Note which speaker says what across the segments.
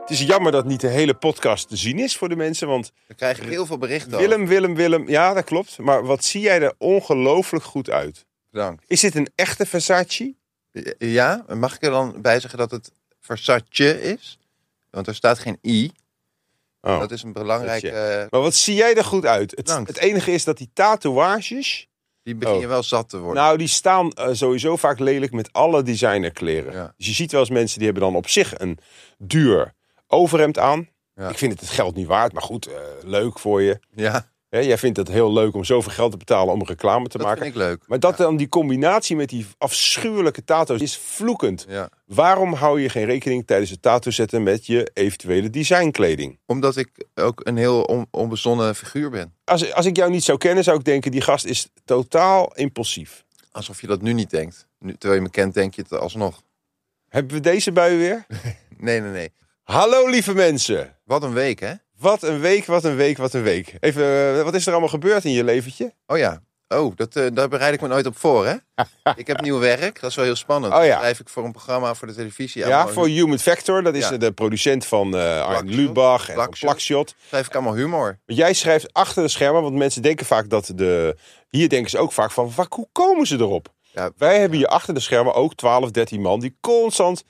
Speaker 1: Het is jammer dat niet de hele podcast te zien is voor de mensen. Want
Speaker 2: Dan krijg ik heel veel berichten over.
Speaker 1: Willem, Willem, Willem. Ja, dat klopt. Maar wat zie jij er ongelooflijk goed uit?
Speaker 2: Bedankt.
Speaker 1: Is dit een echte Versace?
Speaker 2: Ja, mag ik er dan bij zeggen dat het Versace is? Want er staat geen i.
Speaker 1: Oh.
Speaker 2: Dat is een belangrijke... eh,
Speaker 1: Maar wat zie jij er goed uit? Het,
Speaker 2: Bedankt.
Speaker 1: het enige is dat die tatoeages.
Speaker 2: die begin je
Speaker 1: Oh.
Speaker 2: wel zat te worden.
Speaker 1: Nou, die staan eh, sowieso vaak lelijk met alle designerkleren.
Speaker 2: Ja.
Speaker 1: Dus je ziet wel eens mensen die hebben dan op zich een duur overhemd aan.
Speaker 2: Ja.
Speaker 1: Ik vind het het geld niet waard, maar goed, eh, leuk voor je.
Speaker 2: ja,
Speaker 1: Hè, jij vindt het heel leuk om zoveel geld te betalen om reclame te
Speaker 2: dat
Speaker 1: maken.
Speaker 2: vind ik leuk.
Speaker 1: Maar dat dan die combinatie met die afschuwelijke tato's is vloekend.
Speaker 2: Ja.
Speaker 1: Waarom hou je geen rekening tijdens het tattoo zetten met je eventuele designkleding?
Speaker 2: Omdat ik ook een heel on- onbezonnen figuur ben.
Speaker 1: Als, als ik jou niet zou kennen, zou ik denken: die gast is totaal impulsief.
Speaker 2: Alsof je dat nu niet denkt. Nu, terwijl je me kent, denk je het alsnog.
Speaker 1: Hebben we deze bui weer?
Speaker 2: Nee, nee, nee.
Speaker 1: Hallo lieve mensen.
Speaker 2: Wat een week, hè?
Speaker 1: Wat een week, wat een week, wat een week. Even, eh, wat is er allemaal gebeurd in je leventje?
Speaker 2: Oh ja. Oh, dat, eh, daar bereid ik me nooit op voor, hè? ik heb nieuw werk. Dat is wel heel spannend.
Speaker 1: Oh ja.
Speaker 2: Dan Schrijf ik voor een programma voor de televisie.
Speaker 1: Ja,
Speaker 2: Allemaal
Speaker 1: voor Human Factor. Dat is
Speaker 2: Ja.
Speaker 1: de producent van eh Arjen
Speaker 2: Plakshot.
Speaker 1: Lubach en
Speaker 2: Plakshot.
Speaker 1: Plakshot.
Speaker 2: schrijf ik allemaal humor.
Speaker 1: Jij schrijft achter de schermen, want mensen denken vaak dat de... Hier denken ze ook vaak van, "Waar- hoe komen ze erop?
Speaker 2: Ja,
Speaker 1: Wij hebben hier achter de schermen ook 12, 13 man die constant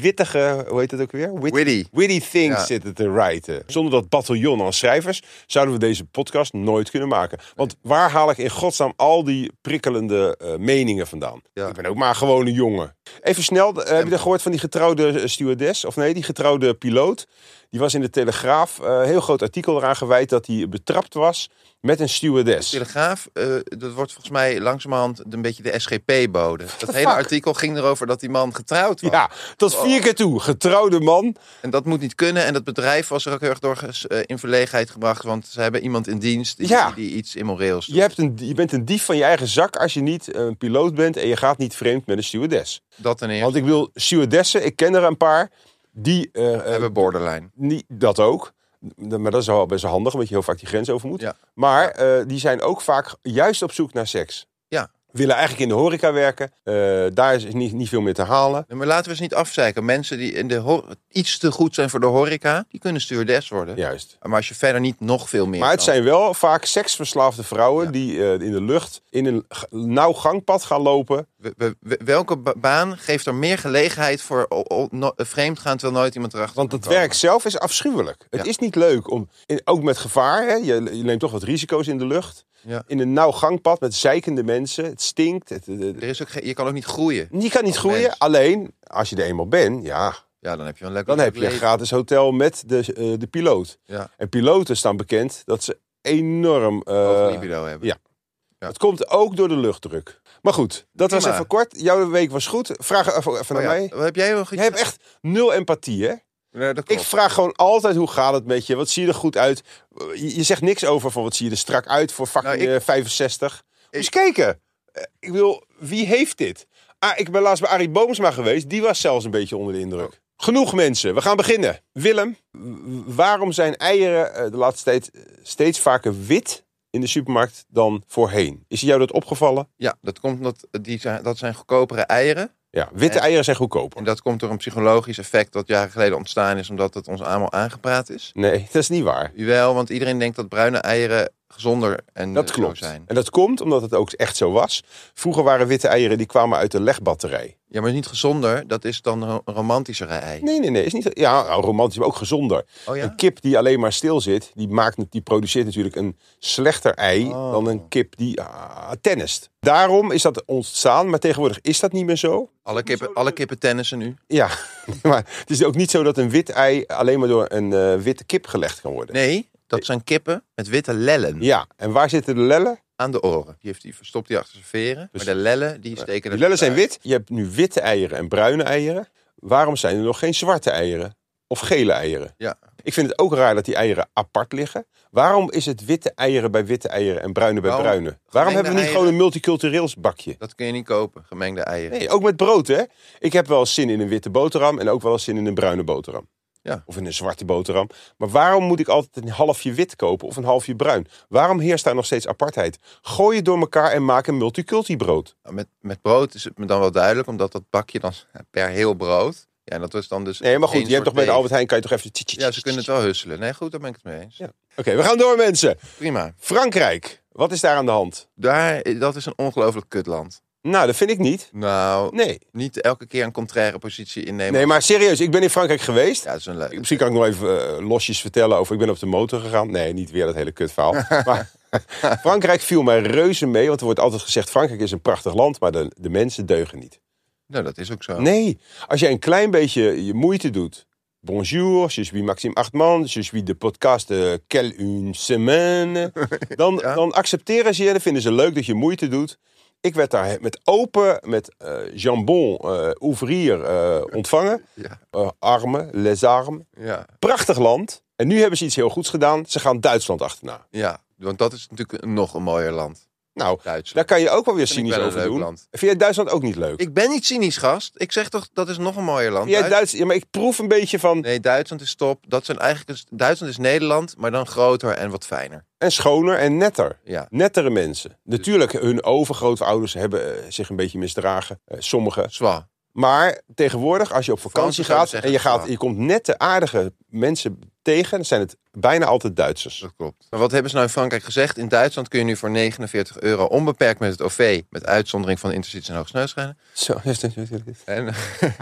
Speaker 1: wittige, hoe heet dat ook weer? Wit-
Speaker 2: Witty.
Speaker 1: witty things
Speaker 2: Ja.
Speaker 1: zitten te writen. Zonder dat bataljon aan schrijvers zouden we deze podcast nooit kunnen maken. Want waar haal ik in godsnaam al die prikkelende eh, meningen vandaan?
Speaker 2: Ja.
Speaker 1: Ik ben ook maar gewoon een jongen. Even snel, eh, heb je dat gehoord van die getrouwde eh, stewardess? Of nee, die getrouwde piloot. Die was in de Telegraaf, eh, heel groot artikel eraan gewijd... dat hij betrapt was met een stewardess.
Speaker 2: Telegraaf, eh, dat wordt volgens mij langzamerhand een beetje de SGP-bode. Dat hele
Speaker 1: fuck?
Speaker 2: artikel ging erover dat die man getrouwd was.
Speaker 1: Ja, tot
Speaker 2: Oh.
Speaker 1: vier keer toe. Getrouwde man.
Speaker 2: En dat moet niet kunnen. En dat bedrijf was er ook heel erg door ges- eh, in verlegenheid gebracht. Want ze hebben iemand in dienst die,
Speaker 1: Ja.
Speaker 2: die iets immoreels doet.
Speaker 1: Je, hebt een, je bent een dief van je eigen zak als je niet een piloot bent... en je gaat niet vreemd met een stewardess.
Speaker 2: Dat ten eerste.
Speaker 1: Want ik wil stewardessen, ik ken er een paar, die, eh, eh,
Speaker 2: hebben borderline.
Speaker 1: niet, dat ook. Maar dat is wel best wel handig, omdat je heel vaak die grens over moet.
Speaker 2: Ja.
Speaker 1: Maar eh, die zijn ook vaak juist op zoek naar seks.
Speaker 2: Ja.
Speaker 1: Willen eigenlijk in de horeca werken. eh, daar is niet, niet veel meer te halen.
Speaker 2: Nee, Maar laten we eens niet afzeiken. Mensen die in de ho- iets te goed zijn voor de horeca, die kunnen stewardess worden.
Speaker 1: Juist.
Speaker 2: Maar als je verder niet nog veel meer.
Speaker 1: Maar het
Speaker 2: kan.
Speaker 1: zijn wel vaak seksverslaafde vrouwen die eh, in de lucht in een g- nauw gangpad gaan lopen.
Speaker 2: We- we- we- welke ba- baan geeft er meer gelegenheid voor o- o- no- vreemdgaan terwijl nooit iemand erachter
Speaker 1: Want
Speaker 2: kan
Speaker 1: het
Speaker 2: komen?
Speaker 1: werk zelf is afschuwelijk. Het
Speaker 2: Ja.
Speaker 1: is niet leuk om, in- ook met gevaar, hè, je, je neemt toch wat risico's in de lucht.
Speaker 2: Ja.
Speaker 1: In een nauw gangpad met zeikende mensen. Het stinkt. Het, het- het-
Speaker 2: Er is ook geen- je kan ook niet groeien.
Speaker 1: je kan niet
Speaker 2: Als
Speaker 1: groeien.
Speaker 2: mens.
Speaker 1: Alleen als je er eenmaal bent, ja,
Speaker 2: Ja, dan heb je wel een lekker
Speaker 1: dan heb je een
Speaker 2: leven.
Speaker 1: gratis hotel met de, eh, de piloot.
Speaker 2: Ja,
Speaker 1: En piloten staan bekend dat ze enorm. eh,
Speaker 2: hoog libido hebben.
Speaker 1: ja. het komt ook door de luchtdruk. Maar goed, dat was
Speaker 2: Prima.
Speaker 1: even kort. Jouw week was goed. Vraag even, even naar
Speaker 2: Oh ja,
Speaker 1: mij.
Speaker 2: Wat heb jij nog
Speaker 1: Jij hebt echt nul empathie, hè?
Speaker 2: Nee, dat
Speaker 1: Ik
Speaker 2: klopt.
Speaker 1: vraag gewoon altijd hoe gaat het met je? Wat zie je er goed uit? Je, je zegt niks over van wat zie je er strak uit voor fucking
Speaker 2: Nou, ik-
Speaker 1: eh, 65. Moet eens kijken. Eh, Ik wil, wie heeft dit? Ah, ik ben laatst bij Arie Boomsma geweest. Die was zelfs een beetje onder de indruk.
Speaker 2: Oh.
Speaker 1: Genoeg mensen, we gaan beginnen. Willem, w- waarom zijn eieren eh, de laatste tijd steeds vaker wit in de supermarkt dan voorheen? Is jou dat opgevallen?
Speaker 2: Ja, dat komt omdat die zijn, dat zijn goedkopere eieren.
Speaker 1: Ja, witte
Speaker 2: Eh,
Speaker 1: eieren zijn goedkoper.
Speaker 2: En dat komt door een psychologisch effect dat jaren geleden ontstaan is, omdat het ons allemaal aangepraat is.
Speaker 1: Nee, dat is niet waar.
Speaker 2: Jawel, want iedereen denkt dat bruine eieren gezonder en
Speaker 1: Dat
Speaker 2: eh,
Speaker 1: klopt.
Speaker 2: zo zijn.
Speaker 1: En dat komt omdat het ook echt zo was. Vroeger waren witte eieren die kwamen uit de legbatterij.
Speaker 2: Ja, maar niet gezonder, dat is dan een romantischere ei.
Speaker 1: Nee, nee, nee. Is niet, ja, nou, romantisch, maar ook gezonder.
Speaker 2: Oh ja?
Speaker 1: Een kip die alleen maar stil zit, die, maakt, het- die produceert natuurlijk een slechter ei
Speaker 2: Oh.
Speaker 1: dan een kip die ah, tennist. Daarom is dat ontstaan, maar tegenwoordig is dat niet meer zo.
Speaker 2: Alle kippen, alle kippen tennissen nu.
Speaker 1: Ja, maar het is ook niet zo dat een wit ei alleen maar door een eh, witte kip gelegd kan worden.
Speaker 2: Nee, dat zijn kippen met witte lellen
Speaker 1: Ja, en waar zitten de lellen?
Speaker 2: aan de oren. Die, heeft, die verstopt die achter zijn veren.
Speaker 1: Dus-
Speaker 2: maar de lellen, die steken
Speaker 1: Die
Speaker 2: er
Speaker 1: lellen zijn
Speaker 2: uit.
Speaker 1: wit. Je hebt nu witte eieren en bruine eieren. Waarom zijn er nog geen zwarte eieren? Of gele eieren?
Speaker 2: Ja,
Speaker 1: Ik vind het ook raar dat die eieren apart liggen. Waarom is het witte eieren bij witte eieren en bruine bij
Speaker 2: Waarom
Speaker 1: bruine? Waarom hebben we niet
Speaker 2: eieren?
Speaker 1: gewoon een multicultureels bakje?
Speaker 2: Dat kun je niet kopen, gemengde eieren.
Speaker 1: Nee, ook met brood, hè? Ik heb wel eens zin in een witte boterham en ook wel eens zin in een bruine boterham.
Speaker 2: Ja.
Speaker 1: Of in een zwarte boterham. Maar waarom moet ik altijd een halfje wit kopen of een halfje bruin? Waarom heerst daar nog steeds apartheid? Gooi het door elkaar en maak een multiculti brood.
Speaker 2: Nou, Met, met brood is het me dan wel duidelijk, omdat dat bakje dan per heel brood. Ja, en dat was dan dus.
Speaker 1: Nee, maar goed,
Speaker 2: één
Speaker 1: je hebt toch bij
Speaker 2: soort
Speaker 1: de
Speaker 2: deeg.
Speaker 1: Albert Heijn kan je toch even... tjit, tjit,
Speaker 2: Ja, ze
Speaker 1: tjit,
Speaker 2: kunnen het
Speaker 1: tjit.
Speaker 2: wel husselen. Nee, goed, daar ben ik het mee eens.
Speaker 1: Ja. Oké, we gaan door mensen.
Speaker 2: Prima.
Speaker 1: Frankrijk, wat is daar aan de hand?
Speaker 2: Daar, dat is een ongelooflijk kutland.
Speaker 1: Nou, dat vind ik niet.
Speaker 2: Nou,
Speaker 1: Nee.
Speaker 2: niet elke keer een contraire positie innemen.
Speaker 1: Nee, maar serieus, ik ben in Frankrijk geweest.
Speaker 2: Ja, dat is een leuk.
Speaker 1: Misschien kan ik nog even eh, losjes vertellen over. Ik ben op de motor gegaan. Nee, niet weer dat hele kutverhaal. maar Frankrijk viel mij reuze mee. Want er wordt altijd gezegd: Frankrijk is een prachtig land. Maar de, de mensen deugen niet.
Speaker 2: Nou, dat is ook zo.
Speaker 1: Nee, als jij een klein beetje je moeite doet. Bonjour, je suis Maxime Hartman. Je suis de podcast eh, Quelle une semaine. Dan,
Speaker 2: Ja.
Speaker 1: dan accepteren ze je. Dan vinden ze leuk dat je moeite doet. Ik werd daar met open, met eh, jambon, eh ouvrier eh, ontvangen.
Speaker 2: Ja,
Speaker 1: Eh, armen, les armes.
Speaker 2: ja,
Speaker 1: Prachtig land. En nu hebben ze iets heel goeds gedaan. Ze gaan Duitsland achterna.
Speaker 2: ja. Want dat is natuurlijk een- nog een mooier land.
Speaker 1: Nou, daar
Speaker 2: Duitsland.
Speaker 1: kan je ook wel weer
Speaker 2: Vind ik
Speaker 1: cynisch
Speaker 2: wel een
Speaker 1: over
Speaker 2: leuk
Speaker 1: doen.
Speaker 2: land.
Speaker 1: Vind jij Duitsland ook niet leuk?
Speaker 2: Ik ben niet cynisch, gast. Ik zeg toch, dat is nog een mooier land.
Speaker 1: Vind jij
Speaker 2: Duits-
Speaker 1: Duits... Ja, maar ik proef een beetje van...
Speaker 2: Nee, Duitsland is top. Dat zijn eigenlijk dus- Duitsland is Nederland, maar dan groter en wat fijner.
Speaker 1: En schoner en netter.
Speaker 2: Ja.
Speaker 1: Nettere mensen.
Speaker 2: Dus-
Speaker 1: Natuurlijk, hun overgrootouders hebben eh, zich een beetje misdragen. eh, sommigen.
Speaker 2: Zwa.
Speaker 1: Maar tegenwoordig, als je op vakantie
Speaker 2: Vakantie zou ik
Speaker 1: gaat...
Speaker 2: zeggen,
Speaker 1: en je, gaat,
Speaker 2: ja.
Speaker 1: je komt nette, aardige mensen tegen... dan zijn het bijna altijd Duitsers.
Speaker 2: Dat klopt. Maar wat hebben ze nou in Frankrijk gezegd? In Duitsland kun je nu voor 49 euro onbeperkt met het OV, met uitzondering van intercities en hoogsnelschrijnen.
Speaker 1: Zo.
Speaker 2: En,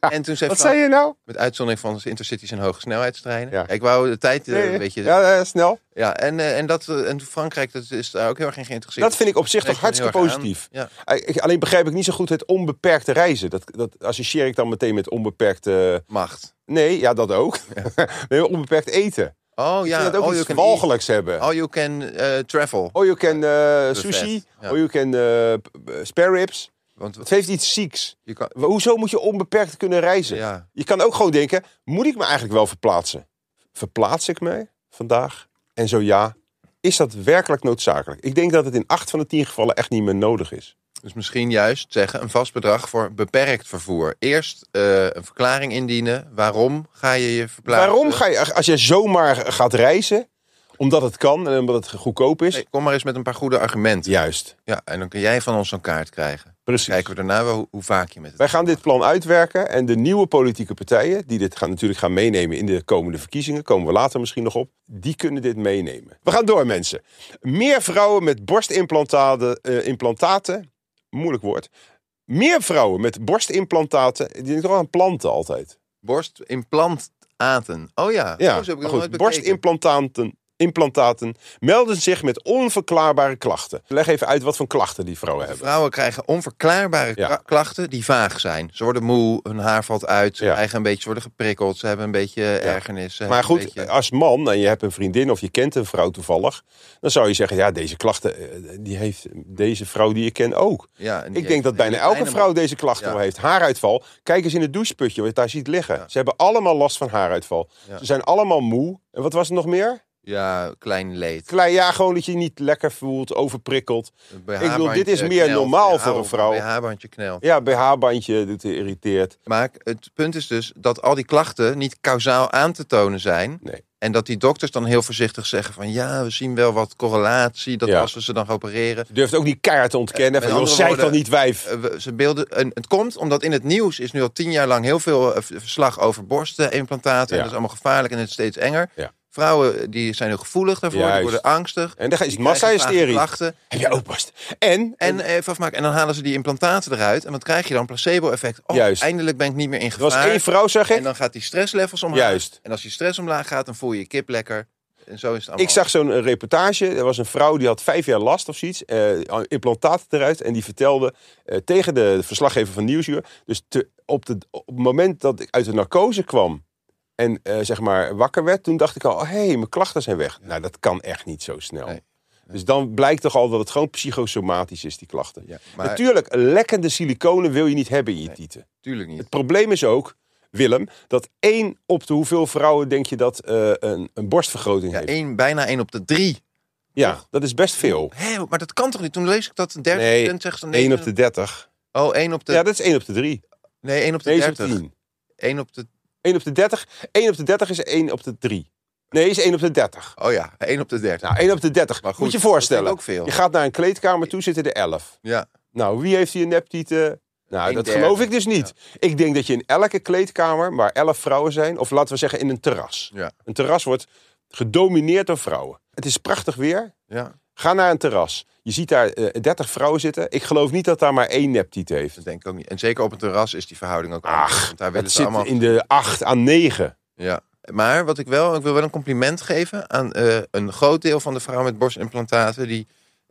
Speaker 2: en toen zei
Speaker 1: Wat
Speaker 2: Frank,
Speaker 1: zei je nou?
Speaker 2: met uitzondering van intercities en hogesnelheidstreinen.
Speaker 1: Ja.
Speaker 2: Ik wou de tijd eh,
Speaker 1: Nee,
Speaker 2: een beetje... Ja,
Speaker 1: ja, ja, snel.
Speaker 2: en, eh, en, dat, eh, en Frankrijk dat is daar ook heel erg in geïnteresseerd.
Speaker 1: Dat vind ik op zich
Speaker 2: Spreekt
Speaker 1: toch
Speaker 2: me heel
Speaker 1: hartstikke
Speaker 2: erg aan.
Speaker 1: positief. Eh,
Speaker 2: Ja.
Speaker 1: Ik- Alleen begrijp ik niet zo goed het onbeperkte reizen. Dat, dat associeer ik dan meteen met onbeperkte...
Speaker 2: Macht.
Speaker 1: Nee, ja, dat ook. nee, onbeperkt eten.
Speaker 2: Oh
Speaker 1: Ik
Speaker 2: ja,
Speaker 1: vind dat ook
Speaker 2: all, you
Speaker 1: iets
Speaker 2: can eat,
Speaker 1: walgelijks hebben.
Speaker 2: all you can eh, travel.
Speaker 1: Oh, you can eh, sushi.
Speaker 2: ja.
Speaker 1: Oh, you can eh, p- p- spare ribs.
Speaker 2: Want
Speaker 1: Het heeft iets zieks.
Speaker 2: je kan,
Speaker 1: Wa- Hoezo moet je onbeperkt kunnen reizen?
Speaker 2: ja,
Speaker 1: Je kan ook gewoon denken, moet ik me eigenlijk wel verplaatsen? Verplaats ik me vandaag? En zo ja, is dat werkelijk noodzakelijk? Ik denk dat het in acht van de tien gevallen echt niet meer nodig is.
Speaker 2: dus misschien juist zeggen een vast bedrag voor beperkt vervoer. Eerst eh, een verklaring indienen. Waarom ga je je verplaatsen?
Speaker 1: Waarom ga je, als je zomaar gaat reizen, omdat het kan en omdat het goedkoop is?
Speaker 2: Nee, kom maar eens met een paar goede argumenten.
Speaker 1: Juist,
Speaker 2: Ja, en dan kun jij van ons zo'n kaart krijgen.
Speaker 1: precies.
Speaker 2: Kijken we daarna wel hoe, hoe vaak je met het...
Speaker 1: Wij gaan dit plan uitwerken en de nieuwe politieke partijen, die dit gaan, natuurlijk gaan meenemen in de komende verkiezingen, komen we later misschien nog op, die kunnen dit meenemen. We gaan door mensen. Meer vrouwen met borstimplantaten, eh, implantaten, moeilijk woord. Meer vrouwen met borstimplantaten, die denken toch wel aan planten altijd.
Speaker 2: Borstimplantaten. Oh ja,
Speaker 1: Ja,
Speaker 2: oh, zo heb ik
Speaker 1: maar
Speaker 2: nog
Speaker 1: goed,
Speaker 2: nooit bekeken.
Speaker 1: borstimplantaten implantaten melden zich met onverklaarbare klachten. Leg even uit wat voor klachten die vrouwen hebben.
Speaker 2: Vrouwen krijgen onverklaarbare
Speaker 1: Ja.
Speaker 2: kla- klachten die vaag zijn. Ze worden moe, hun haar valt uit, ze
Speaker 1: Ja.
Speaker 2: krijgen een beetje, ze worden geprikkeld, ze hebben een beetje ergernis. ze
Speaker 1: Maar
Speaker 2: hebben
Speaker 1: goed, eh,
Speaker 2: een beetje-
Speaker 1: als man en je hebt een vriendin of je kent een vrouw toevallig, dan zou je zeggen: ja, deze klachten, eh, die heeft deze vrouw die je kent ook.
Speaker 2: ja, en die
Speaker 1: Ik denk dat bijna
Speaker 2: heeft- die heeft
Speaker 1: elke
Speaker 2: kleine
Speaker 1: vrouw deze klachten
Speaker 2: Ja.
Speaker 1: wel heeft. Haaruitval. Kijk eens in het doucheputje wat je daar ziet liggen.
Speaker 2: Ja.
Speaker 1: Ze hebben allemaal last van haaruitval.
Speaker 2: Ja.
Speaker 1: Ze zijn allemaal moe. En wat was het nog meer?
Speaker 2: Ja, klein leed.
Speaker 1: Klein, ja, gewoon dat je je niet lekker voelt, overprikkeld.
Speaker 2: Ik
Speaker 1: bedoel, dit
Speaker 2: eh,
Speaker 1: is meer normaal voor een vrouw.
Speaker 2: Bij haarbandje knel.
Speaker 1: Ja, BH-bandje doet je irriteert.
Speaker 2: Maar het punt is dus dat al die klachten niet kausaal aan te tonen zijn.
Speaker 1: Nee.
Speaker 2: En dat die dokters dan heel voorzichtig zeggen van... ja, we zien wel wat correlatie, dat
Speaker 1: Ja.
Speaker 2: als we ze dan gaan opereren...
Speaker 1: Je durft ook niet keihard te ontkennen.
Speaker 2: Eh,
Speaker 1: van,
Speaker 2: met
Speaker 1: joh,
Speaker 2: andere
Speaker 1: zij toch
Speaker 2: woorden,
Speaker 1: niet wijf?
Speaker 2: Eh, we- ze beelden, en het komt omdat in het nieuws is nu al tien jaar lang heel veel eh, v- verslag over borstenimplantaten.
Speaker 1: Ja.
Speaker 2: En dat is allemaal gevaarlijk en het is steeds enger.
Speaker 1: Ja.
Speaker 2: Vrouwen eh, die zijn heel gevoelig daarvoor,
Speaker 1: Juist.
Speaker 2: die worden angstig.
Speaker 1: En dan is het
Speaker 2: die krijgen vage
Speaker 1: massa-hysterie.
Speaker 2: klachten.
Speaker 1: Heb jij ook borst? En,
Speaker 2: En even afmaken. En dan halen ze die implantaten eruit. En wat krijg je dan? Placebo-effect. Oh,
Speaker 1: Juist.
Speaker 2: eindelijk ben ik niet meer in
Speaker 1: er was
Speaker 2: gevaar.
Speaker 1: één vrouw, zeg ik.
Speaker 2: En dan gaat die stresslevels omlaag.
Speaker 1: Juist.
Speaker 2: En als die stress omlaag gaat, dan voel je je kip lekker. En zo is het allemaal.
Speaker 1: Ik zag zo'n eh, reportage. Er was een vrouw die had vijf jaar last of zoiets. eh, implantaat eruit. En die vertelde eh, tegen de verslaggever van Nieuwsuur. Dus te- op, de, op het moment dat ik uit de narcose kwam. En eh, zeg maar wakker werd. Toen dacht ik al, oh, hé, hey, mijn klachten zijn weg. Nou, dat kan echt niet zo snel.
Speaker 2: Nee.
Speaker 1: Dus dan blijkt toch al dat het gewoon psychosomatisch is, die klachten.
Speaker 2: Ja, maar
Speaker 1: Natuurlijk, lekkende siliconen wil je niet hebben in je tieten.
Speaker 2: natuurlijk niet.
Speaker 1: Het probleem is ook, Willem, dat één op de hoeveel vrouwen denk je dat eh, een, een borstvergroting
Speaker 2: Ja,
Speaker 1: heeft?
Speaker 2: één, bijna één op de drie.
Speaker 1: Ja, dat is best veel.
Speaker 2: Hé, maar dat kan toch niet? Toen lees ik dat een derde
Speaker 1: Nee,
Speaker 2: student zegt... dan
Speaker 1: Eén
Speaker 2: nee,
Speaker 1: op de dertig.
Speaker 2: Oh, één op de...
Speaker 1: Ja, dat is één op de drie.
Speaker 2: nee, één op de
Speaker 1: Nee, is op
Speaker 2: dertig.
Speaker 1: tien.
Speaker 2: Eén op de...
Speaker 1: Eén op de dertig. Één op de dertig is één op de drie. Nee, is één op de dertig.
Speaker 2: Oh ja, één op de dertig.
Speaker 1: Nou, één op de dertig.
Speaker 2: Maar goed,
Speaker 1: Moet je
Speaker 2: dat
Speaker 1: voorstellen.
Speaker 2: vind ik ook veel.
Speaker 1: Je gaat naar een kleedkamer toe, zitten er elf.
Speaker 2: Ja.
Speaker 1: Nou, wie heeft hier neptieten? Nou,
Speaker 2: Een
Speaker 1: dat
Speaker 2: derde.
Speaker 1: geloof ik dus niet. Ik denk dat je in elke kleedkamer, waar elf vrouwen zijn, of laten we zeggen in een terras.
Speaker 2: Ja.
Speaker 1: Een terras wordt gedomineerd door vrouwen. Het is prachtig weer.
Speaker 2: ja,
Speaker 1: Ga naar een terras. Je ziet daar eh, 30 vrouwen zitten. Ik geloof niet dat daar maar één neptiet heeft.
Speaker 2: dat denk ik ook niet. En zeker op een terras is die verhouding ook
Speaker 1: Ach,
Speaker 2: anders, want daar willen
Speaker 1: Het
Speaker 2: ze
Speaker 1: zit
Speaker 2: allemaal...
Speaker 1: in de 8 aan 9.
Speaker 2: Ja. Maar wat ik wel, ik wil wel een compliment geven aan eh, een groot deel van de vrouwen met borstimplantaten. Die,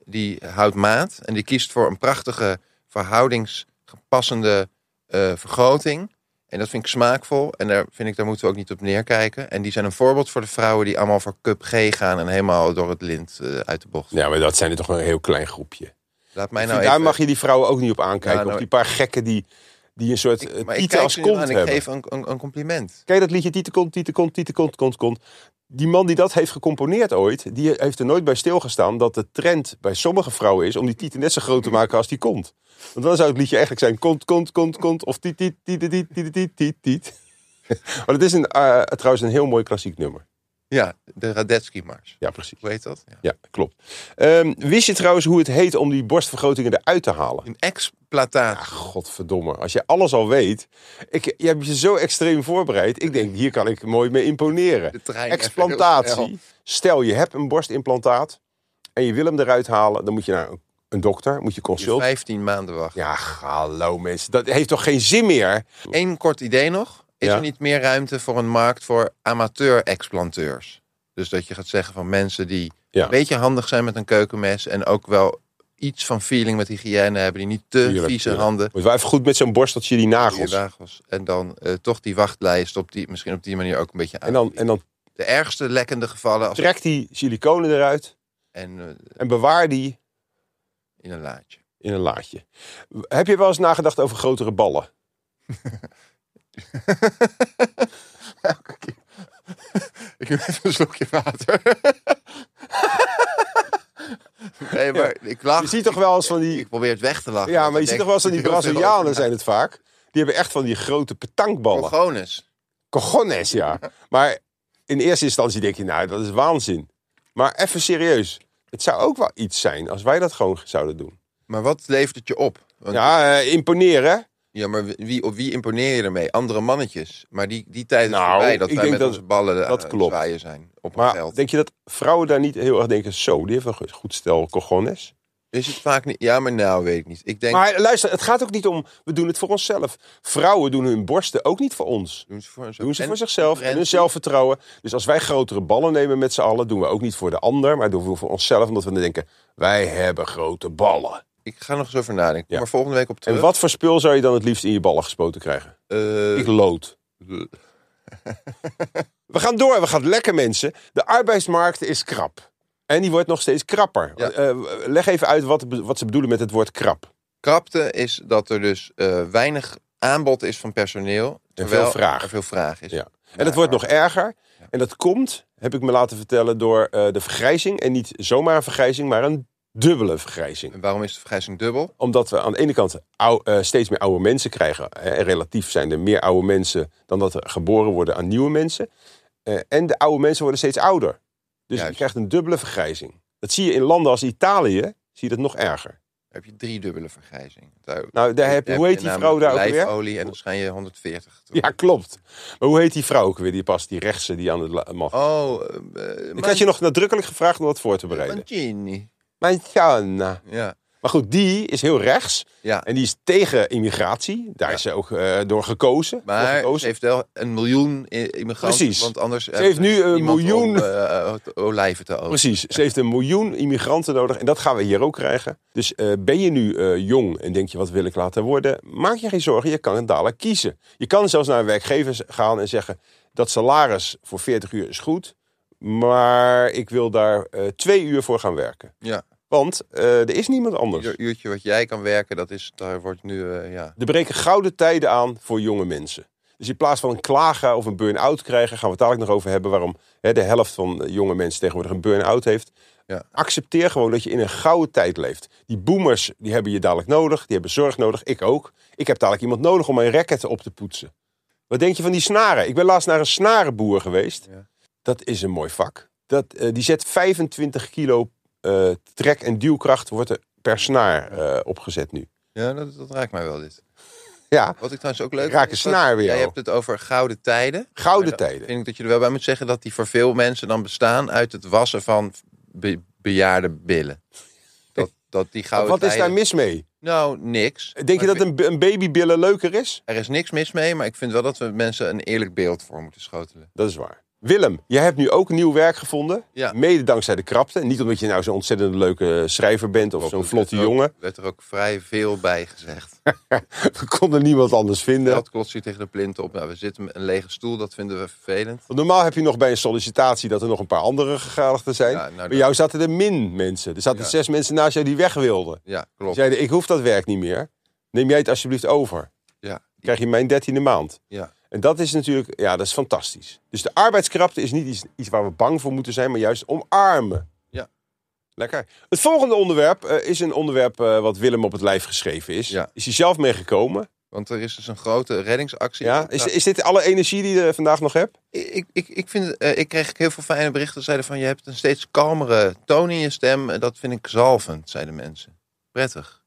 Speaker 2: die houdt maat en die kiest voor een prachtige verhoudingsgepassende eh, vergroting. En dat vind ik smaakvol en daar, vind ik, daar moeten we ook niet op neerkijken. En die zijn een voorbeeld voor de vrouwen die allemaal voor cup G gaan en helemaal door het lint eh, uit de bocht.
Speaker 1: Ja, maar dat zijn er toch wel een heel klein groepje.
Speaker 2: Laat mij
Speaker 1: Ik
Speaker 2: nou
Speaker 1: vind, daar
Speaker 2: even...
Speaker 1: mag je die vrouwen ook niet op aankijken.
Speaker 2: Ja, nou,
Speaker 1: of die paar gekken die, die een soort
Speaker 2: ik,
Speaker 1: eh,
Speaker 2: maar ik
Speaker 1: tieten
Speaker 2: kijk
Speaker 1: als
Speaker 2: ze nu
Speaker 1: kont
Speaker 2: aan,
Speaker 1: hebben.
Speaker 2: ik geef een, een, een compliment.
Speaker 1: Kijk dat liedje Tieten kont, Tieten kont, Tieten kont, kont, kont. Die man die dat heeft gecomponeerd ooit, die heeft er nooit bij stilgestaan dat de trend bij sommige vrouwen is om die tieten net zo groot te maken als die kont. Want dan zou het liedje eigenlijk zijn kont, kont, kont, kont of tiet, tiet, tiet, tiet, tiet, tiet, tiet, tiet. Maar dat is een, eh, trouwens een heel mooi klassiek nummer.
Speaker 2: Ja, de Radetzky-mars.
Speaker 1: Ja, precies.
Speaker 2: Hoe heet dat? Ja.
Speaker 1: Ja, klopt. Ehm, wist je trouwens hoe het heet om die borstvergrotingen eruit te halen?
Speaker 2: Een exploitatie.
Speaker 1: Ah, godverdomme. Als je alles al weet. Ik, je hebt je zo extreem voorbereid. Ik denk, hier kan ik mooi mee
Speaker 2: De
Speaker 1: imponeren.
Speaker 2: trein even heel snel.
Speaker 1: Explantatie. Stel, je hebt een borstimplantaat. En je wil hem eruit halen. Dan moet je naar een- een dokter. Moet je
Speaker 2: Je
Speaker 1: consult.
Speaker 2: 15 maanden wachten.
Speaker 1: Ja, hallo mensen. Dat heeft toch geen zin meer?
Speaker 2: Eén kort idee nog. Is
Speaker 1: Ja.
Speaker 2: er niet meer ruimte voor een markt voor amateur-explanteurs? Dus dat je gaat zeggen van mensen die
Speaker 1: Ja.
Speaker 2: een beetje handig zijn met een keukenmes... en ook wel iets van feeling met hygiëne hebben... die niet te
Speaker 1: Tuurlijk,
Speaker 2: vieze
Speaker 1: tuurlijk.
Speaker 2: handen...
Speaker 1: Moet wel even goed met zo'n borsteltje die nagels.
Speaker 2: nagels, En dan eh, toch die wachtlijst op die, misschien op die manier ook een beetje aan.
Speaker 1: En dan, en dan
Speaker 2: de ergste lekkende gevallen als,
Speaker 1: trek die siliconen eruit.
Speaker 2: en, eh,
Speaker 1: En bewaar die
Speaker 2: in een laadje.
Speaker 1: in een laadje. Heb je wel eens nagedacht over grotere ballen?
Speaker 2: Ik neem even een slokje water. nee, maar ik lach.
Speaker 1: Je ziet toch wel eens van die
Speaker 2: Ik probeer het weg te lachen.
Speaker 1: Ja, maar je ziet toch wel eens aan die Brazilianen zijn het vaak. Die hebben echt van die grote petankballen.
Speaker 2: Cogones.
Speaker 1: Cojones, ja. Maar in eerste instantie denk je, nou, dat is waanzin. Maar even serieus. Het zou ook wel iets zijn als wij dat gewoon zouden doen.
Speaker 2: Maar wat levert het je op? Want, ja.
Speaker 1: Ja, eh, imponeren.
Speaker 2: maar wie, op wie imponeer je ermee? Andere mannetjes. Maar die, die tijd is
Speaker 1: Nou,
Speaker 2: voorbij dat
Speaker 1: ik
Speaker 2: wij
Speaker 1: denk
Speaker 2: met
Speaker 1: dat-
Speaker 2: onze ballen eh,
Speaker 1: dat
Speaker 2: aan het
Speaker 1: klopt.
Speaker 2: zwaaien zijn op een
Speaker 1: Maar
Speaker 2: veld.
Speaker 1: denk je dat vrouwen daar niet heel erg denken... zo, die heeft een goed stel cojones.
Speaker 2: Is het vaak niet... Ja, maar nou weet ik niet. Ik denk,
Speaker 1: Maar luister, het gaat ook niet om... we doen het voor onszelf. Vrouwen doen hun borsten ook niet voor ons.
Speaker 2: doen ze voor, hun-
Speaker 1: Doen ze
Speaker 2: en
Speaker 1: voor zichzelf en hun
Speaker 2: concurrentie.
Speaker 1: zelfvertrouwen. Dus als wij grotere ballen nemen met z'n allen, doen we ook niet voor de ander, maar doen we voor onszelf. Omdat we dan denken, wij hebben grote ballen.
Speaker 2: Ik ga nog eens over nadenken. Kom
Speaker 1: Ja.
Speaker 2: Maar volgende week op terug.
Speaker 1: En wat voor spul zou je dan het liefst in je ballen gespoten krijgen?
Speaker 2: Eh,
Speaker 1: Ik lood. We gaan door, we gaan lekker mensen. De arbeidsmarkt is krap. En die wordt nog steeds krapper.
Speaker 2: Ja.
Speaker 1: Eh, leg even uit wat, wat ze bedoelen met het woord krap.
Speaker 2: krapte is dat er dus eh, weinig aanbod is van personeel. terwijl
Speaker 1: veel vraag.
Speaker 2: er veel vraag is.
Speaker 1: Ja. En dat wordt nog e- erger. En dat komt, heb ik me laten vertellen, door eh, de vergrijzing. En niet zomaar een vergrijzing, maar een dubbele vergrijzing.
Speaker 2: En waarom is de vergrijzing dubbel?
Speaker 1: Omdat we aan de ene kant ou- eh, steeds meer oude mensen krijgen. Eh, relatief zijn er meer oude mensen dan dat er geboren worden aan nieuwe mensen. Eh, en de oude mensen worden steeds ouder. Dus
Speaker 2: Juist.
Speaker 1: je krijgt een dubbele vergrijzing. Dat zie je in landen als Italië, zie je dat nog erger.
Speaker 2: Dan heb je drie dubbele vergrijzing. Daar,
Speaker 1: Nou, daar heb je, hoe heet die vrouw daar ook weer?
Speaker 2: Olie en dan schijn je 140. toe.
Speaker 1: Ja, klopt. Maar hoe heet die vrouw ook weer, die pas, die rechtse, die aan het la- mag?
Speaker 2: Oh, eh,
Speaker 1: ik had je nog nadrukkelijk gevraagd om dat voor te bereiden.
Speaker 2: Mancini.
Speaker 1: Mijn Tjana.
Speaker 2: Ja.
Speaker 1: Maar goed, die is heel rechts.
Speaker 2: ja.
Speaker 1: En die is tegen immigratie. Daar
Speaker 2: Ja.
Speaker 1: is ze ook eh, door gekozen. Voor
Speaker 2: Maar
Speaker 1: gekozen.
Speaker 2: ze heeft wel een miljoen i- immigranten.
Speaker 1: Precies.
Speaker 2: Want anders ze
Speaker 1: heeft nu een miljoen-
Speaker 2: Om, eh, olijven te oogsten.
Speaker 1: Precies, ze heeft een miljoen immigranten nodig en dat gaan we hier ook krijgen. Dus eh, ben je nu eh, jong en denk je wat wil ik laten worden, maak je geen zorgen, je kan het dadelijk kiezen. Je kan zelfs naar een werkgever gaan en zeggen dat salaris voor 40 uur is goed, maar ik wil daar eh, twee uur voor gaan werken.
Speaker 2: Ja.
Speaker 1: Want eh, er is niemand anders.
Speaker 2: Ieder uurtje wat jij kan werken, dat is, daar wordt nu, eh, ja.
Speaker 1: Er breken gouden tijden aan voor jonge mensen. Dus in plaats van een klagen of een burn-out krijgen, gaan we het dadelijk nog over hebben waarom hè, de helft van eh, jonge mensen tegenwoordig een burn-out heeft.
Speaker 2: Ja.
Speaker 1: Accepteer gewoon dat je in een gouden tijd leeft. Die boomers die hebben je dadelijk nodig, die hebben zorg nodig, ik ook. Ik heb dadelijk iemand nodig om mijn racket op te poetsen. Wat denk je van die snaren? Ik ben laatst naar een snarenboer geweest.
Speaker 2: Ja.
Speaker 1: Dat is een mooi vak. Dat, eh, die zet 25 kilo eh, trek- en duwkracht wordt er per snaar eh, opgezet nu.
Speaker 2: Ja, dat, dat raakt mij wel dit.
Speaker 1: Ja,
Speaker 2: Wat ik trouwens ook leuk
Speaker 1: Ik raak een
Speaker 2: dat-
Speaker 1: snaar weer,
Speaker 2: Jij
Speaker 1: joh.
Speaker 2: hebt het over gouden tijden.
Speaker 1: gouden
Speaker 2: Maar dan
Speaker 1: tijden.
Speaker 2: Vind ik dat je er wel bij moet zeggen dat die voor veel mensen dan bestaan uit het wassen van be- bejaarde billen. Dat, dat die gouden
Speaker 1: Wat is daar
Speaker 2: tijden-
Speaker 1: mis mee?
Speaker 2: Nou, niks.
Speaker 1: Denk je
Speaker 2: Maar
Speaker 1: dat een, een babybillen leuker is?
Speaker 2: Er is niks mis mee, maar ik vind wel dat we mensen een eerlijk beeld voor moeten schotelen.
Speaker 1: Dat is waar. Willem, jij hebt nu ook nieuw werk gevonden.
Speaker 2: Ja.
Speaker 1: Mede dankzij de krapte. Niet omdat je nou zo'n ontzettend leuke schrijver bent of zo'n vlotte
Speaker 2: Er werd ook-
Speaker 1: jongen.
Speaker 2: werd er ook vrij veel bij gezegd.
Speaker 1: We konden niemand anders vinden.
Speaker 2: Dat klotst hier tegen de plint op. Nou, we zitten met een lege stoel, dat vinden we vervelend.
Speaker 1: Want normaal heb je nog bij een sollicitatie dat er nog een paar andere gegadigden zijn.
Speaker 2: Ja, nou,
Speaker 1: bij
Speaker 2: dat-
Speaker 1: jou zaten er min mensen. Er zaten
Speaker 2: Ja.
Speaker 1: zes mensen naast jou die weg wilden.
Speaker 2: Ja,
Speaker 1: Die
Speaker 2: klopt.
Speaker 1: zeiden, ik hoef dat werk niet meer. Neem jij het alsjeblieft over. Dan
Speaker 2: Ja,
Speaker 1: krijg je mijn dertiende maand.
Speaker 2: ja.
Speaker 1: En dat is natuurlijk, ja, dat is fantastisch. Dus de arbeidskrapte is niet iets, iets waar we bang voor moeten zijn, maar juist omarmen.
Speaker 2: Ja.
Speaker 1: Lekker. Het volgende onderwerp eh, is een onderwerp eh, wat Willem op het lijf geschreven is.
Speaker 2: Ja.
Speaker 1: Is hij zelf meegekomen?
Speaker 2: Want er is dus een grote reddingsactie.
Speaker 1: Ja. Is, is dit alle energie die je vandaag nog hebt?
Speaker 2: ik, ik, ik, vind, eh, ik kreeg heel veel fijne berichten. Zeiden van, je hebt een steeds kalmere toon in je stem. En dat vind ik zalvend, zeiden mensen. Prettig.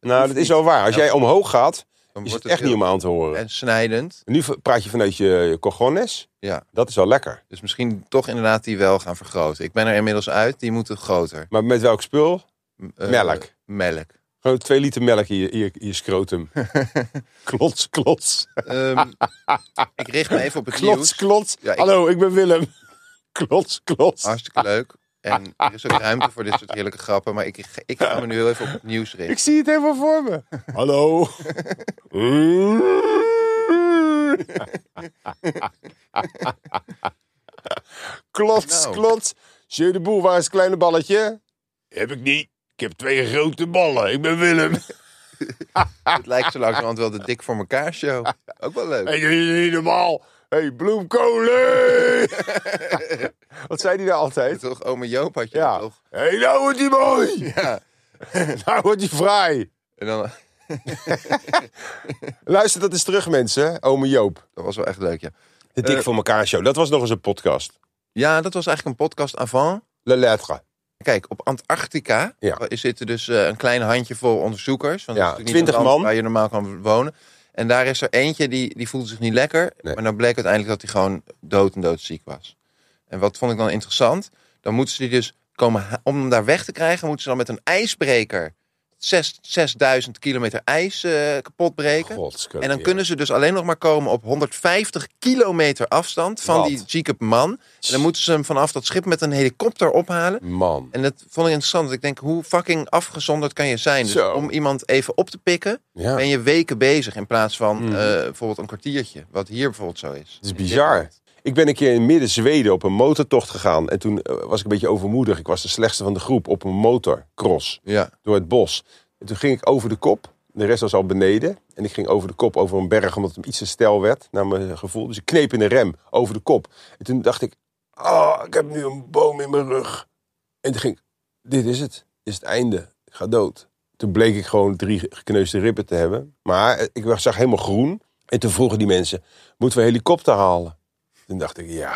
Speaker 1: Nou, dat is wel waar. Als
Speaker 2: Ja.
Speaker 1: jij omhoog gaat,
Speaker 2: Dan
Speaker 1: is het
Speaker 2: wordt
Speaker 1: echt niet
Speaker 2: heel-
Speaker 1: om aan te horen.
Speaker 2: En snijdend.
Speaker 1: Nu v- praat je vanuit je, je cojones.
Speaker 2: Ja.
Speaker 1: Dat is wel lekker.
Speaker 2: Dus misschien toch inderdaad die wel gaan vergroten. Ik ben er inmiddels uit. Die moeten groter.
Speaker 1: Maar met welk spul?
Speaker 2: M- eh,
Speaker 1: Melk.
Speaker 2: Melk.
Speaker 1: Gewoon twee liter melk in je, in je, in je scrotum. klots, klots.
Speaker 2: Ehm, ik richt me even op het
Speaker 1: Klots,
Speaker 2: nieuws.
Speaker 1: klots.
Speaker 2: Ja, ik-
Speaker 1: Hallo, ik ben Willem. Klots, klots.
Speaker 2: Hartstikke leuk. En er is ook ruimte voor dit soort heerlijke grappen. Maar ik, ik ga me nu heel even op het nieuws richten.
Speaker 1: Ik zie het helemaal voor me. Hallo. klots,
Speaker 2: Nou.
Speaker 1: klots. Jeu de boel, waar is het kleine balletje? Heb ik niet. Ik heb twee grote ballen. Ik ben Willem.
Speaker 2: Het lijkt zo langzamerhand wel de Dik voor elkaar show. Ook wel leuk.
Speaker 1: Hey, dit is niet normaal. hey, bloemkolen. Wat zei die daar altijd?
Speaker 2: Toch, ome Joop had je
Speaker 1: Ja.
Speaker 2: toch?
Speaker 1: hey, nou wordt hij mooi.
Speaker 2: Ja.
Speaker 1: Nou wordt hij fraai.
Speaker 2: En dan,
Speaker 1: Luister dat eens terug, mensen. Ome Joop.
Speaker 2: dat was wel echt leuk, ja.
Speaker 1: De Dik
Speaker 2: Eh.
Speaker 1: voor elkaar show. Dat was nog eens een podcast.
Speaker 2: Ja, dat was eigenlijk een podcast avant.
Speaker 1: Le Lettre.
Speaker 2: Kijk, op Antarctica
Speaker 1: Ja.
Speaker 2: is zitten dus eh, een klein handjevol onderzoekers. Want
Speaker 1: Ja,
Speaker 2: dat is natuurlijk niet
Speaker 1: 20
Speaker 2: een land
Speaker 1: man.
Speaker 2: Waar je normaal kan wonen. En daar is er eentje die, die voelde zich niet lekker.
Speaker 1: Nee.
Speaker 2: Maar dan bleek uiteindelijk dat hij gewoon dood en doodziek was. En wat vond ik dan interessant? Dan moeten ze die dus komen. ha- Om hem daar weg te krijgen, moeten ze dan met een ijsbreker. zes- 6000 kilometer ijs eh, kapot breken. En dan kunnen ze dus alleen nog maar komen op 150 kilometer afstand van
Speaker 1: Wat?
Speaker 2: die zieke man. En dan moeten ze hem vanaf dat schip met een helikopter ophalen.
Speaker 1: Man.
Speaker 2: En dat vond ik interessant. want Ik denk, hoe fucking afgezonderd kan je zijn? Dus
Speaker 1: Zo.
Speaker 2: om iemand even op te pikken,
Speaker 1: Ja.
Speaker 2: ben je weken bezig in plaats van
Speaker 1: Mhm.
Speaker 2: eh, bijvoorbeeld een kwartiertje. Wat hier bijvoorbeeld zo is.
Speaker 1: Het is bizar. Ik ben een keer in midden Zweden op een motortocht gegaan. En toen eh, was ik een beetje overmoedig. Ik was de slechtste van de groep op een motorcross
Speaker 2: Ja,
Speaker 1: door het bos. En toen ging ik over de kop. De rest was al beneden. En ik ging over de kop over een berg omdat het iets te stijl werd, naar mijn gevoel. Dus ik kneep in de rem over de kop. En toen dacht ik, oh, ik heb nu een boom in mijn rug. En toen ging ik, dit is het. Dit is het einde. Ik ga dood. Toen bleek ik gewoon drie gekneusde ribben te hebben. Maar eh, ik zag helemaal groen. En toen vroegen die mensen, moeten we een helikopter halen? Toen dacht ik, ja,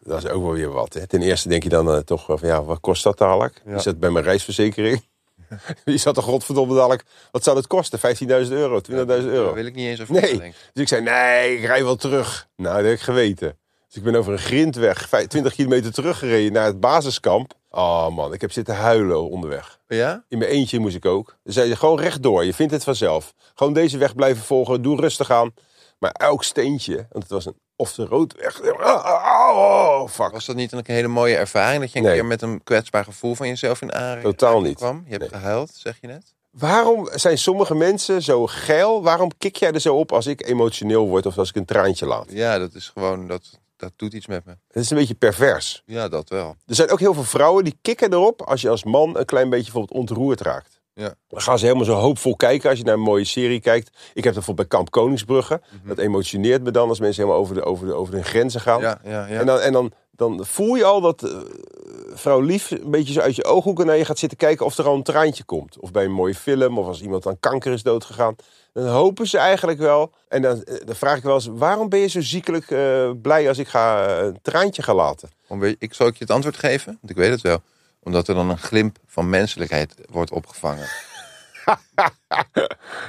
Speaker 1: dat is ook wel weer wat. Hè. Ten eerste denk je dan eh, toch wel van, ja, wat kost dat dadelijk?
Speaker 2: Ja.
Speaker 1: Is dat bij mijn reisverzekering? Je zat toch godverdomme dadelijk, wat zou dat kosten? 15.000 euro, 20.000 euro.
Speaker 2: daar wil ik niet eens over
Speaker 1: Nee.
Speaker 2: nadenken.
Speaker 1: Dus ik zei, nee, ik rij wel terug. Nou, dat heb ik geweten. Dus ik ben over een grindweg vij- 20 kilometer teruggereden naar het basiskamp. Oh man, ik heb zitten huilen onderweg.
Speaker 2: Ja?
Speaker 1: In mijn eentje moest ik ook. Ze zeiden, gewoon rechtdoor, je vindt het vanzelf. Gewoon deze weg blijven volgen, doe rustig aan. Maar elk steentje, want het was een off the road weg. Oh, oh, fuck.
Speaker 2: Was dat niet een hele mooie ervaring? Dat je een
Speaker 1: Nee.
Speaker 2: keer met een kwetsbaar gevoel van jezelf in aanraking
Speaker 1: Totaal niet.
Speaker 2: kwam? Je hebt
Speaker 1: Nee.
Speaker 2: gehuild, zeg je net?
Speaker 1: Waarom zijn sommige mensen zo geil? Waarom kik jij er zo op als ik emotioneel word of als ik een traantje laat?
Speaker 2: Ja, dat is gewoon, dat, dat doet iets met me.
Speaker 1: Dat is een beetje pervers.
Speaker 2: Ja, dat wel.
Speaker 1: Er zijn ook heel veel vrouwen die kikken erop als je als man een klein beetje bijvoorbeeld ontroerd raakt.
Speaker 2: Ja.
Speaker 1: Dan gaan ze helemaal zo hoopvol kijken als je naar een mooie serie kijkt. Ik heb dat bijvoorbeeld bij Kamp Koningsbrugge.
Speaker 2: Mhm.
Speaker 1: Dat emotioneert me dan als mensen helemaal over, de, over, de, over hun grenzen gaan.
Speaker 2: Ja, ja, ja.
Speaker 1: En, dan, en dan, dan voel je al dat eh, vrouw Lief een beetje zo uit je ooghoeken naar je gaat zitten kijken of er al een traantje komt. Of bij een mooie film, of als iemand aan kanker is doodgegaan. Dan hopen ze eigenlijk wel. En dan, eh, dan vraag ik wel eens, waarom ben je zo ziekelijk eh, blij als ik ga, eh, een traantje ga laten?
Speaker 2: Om weer- ik, zal ik je het antwoord geven? Want ik weet het wel. Omdat er dan een glimp van menselijkheid wordt opgevangen.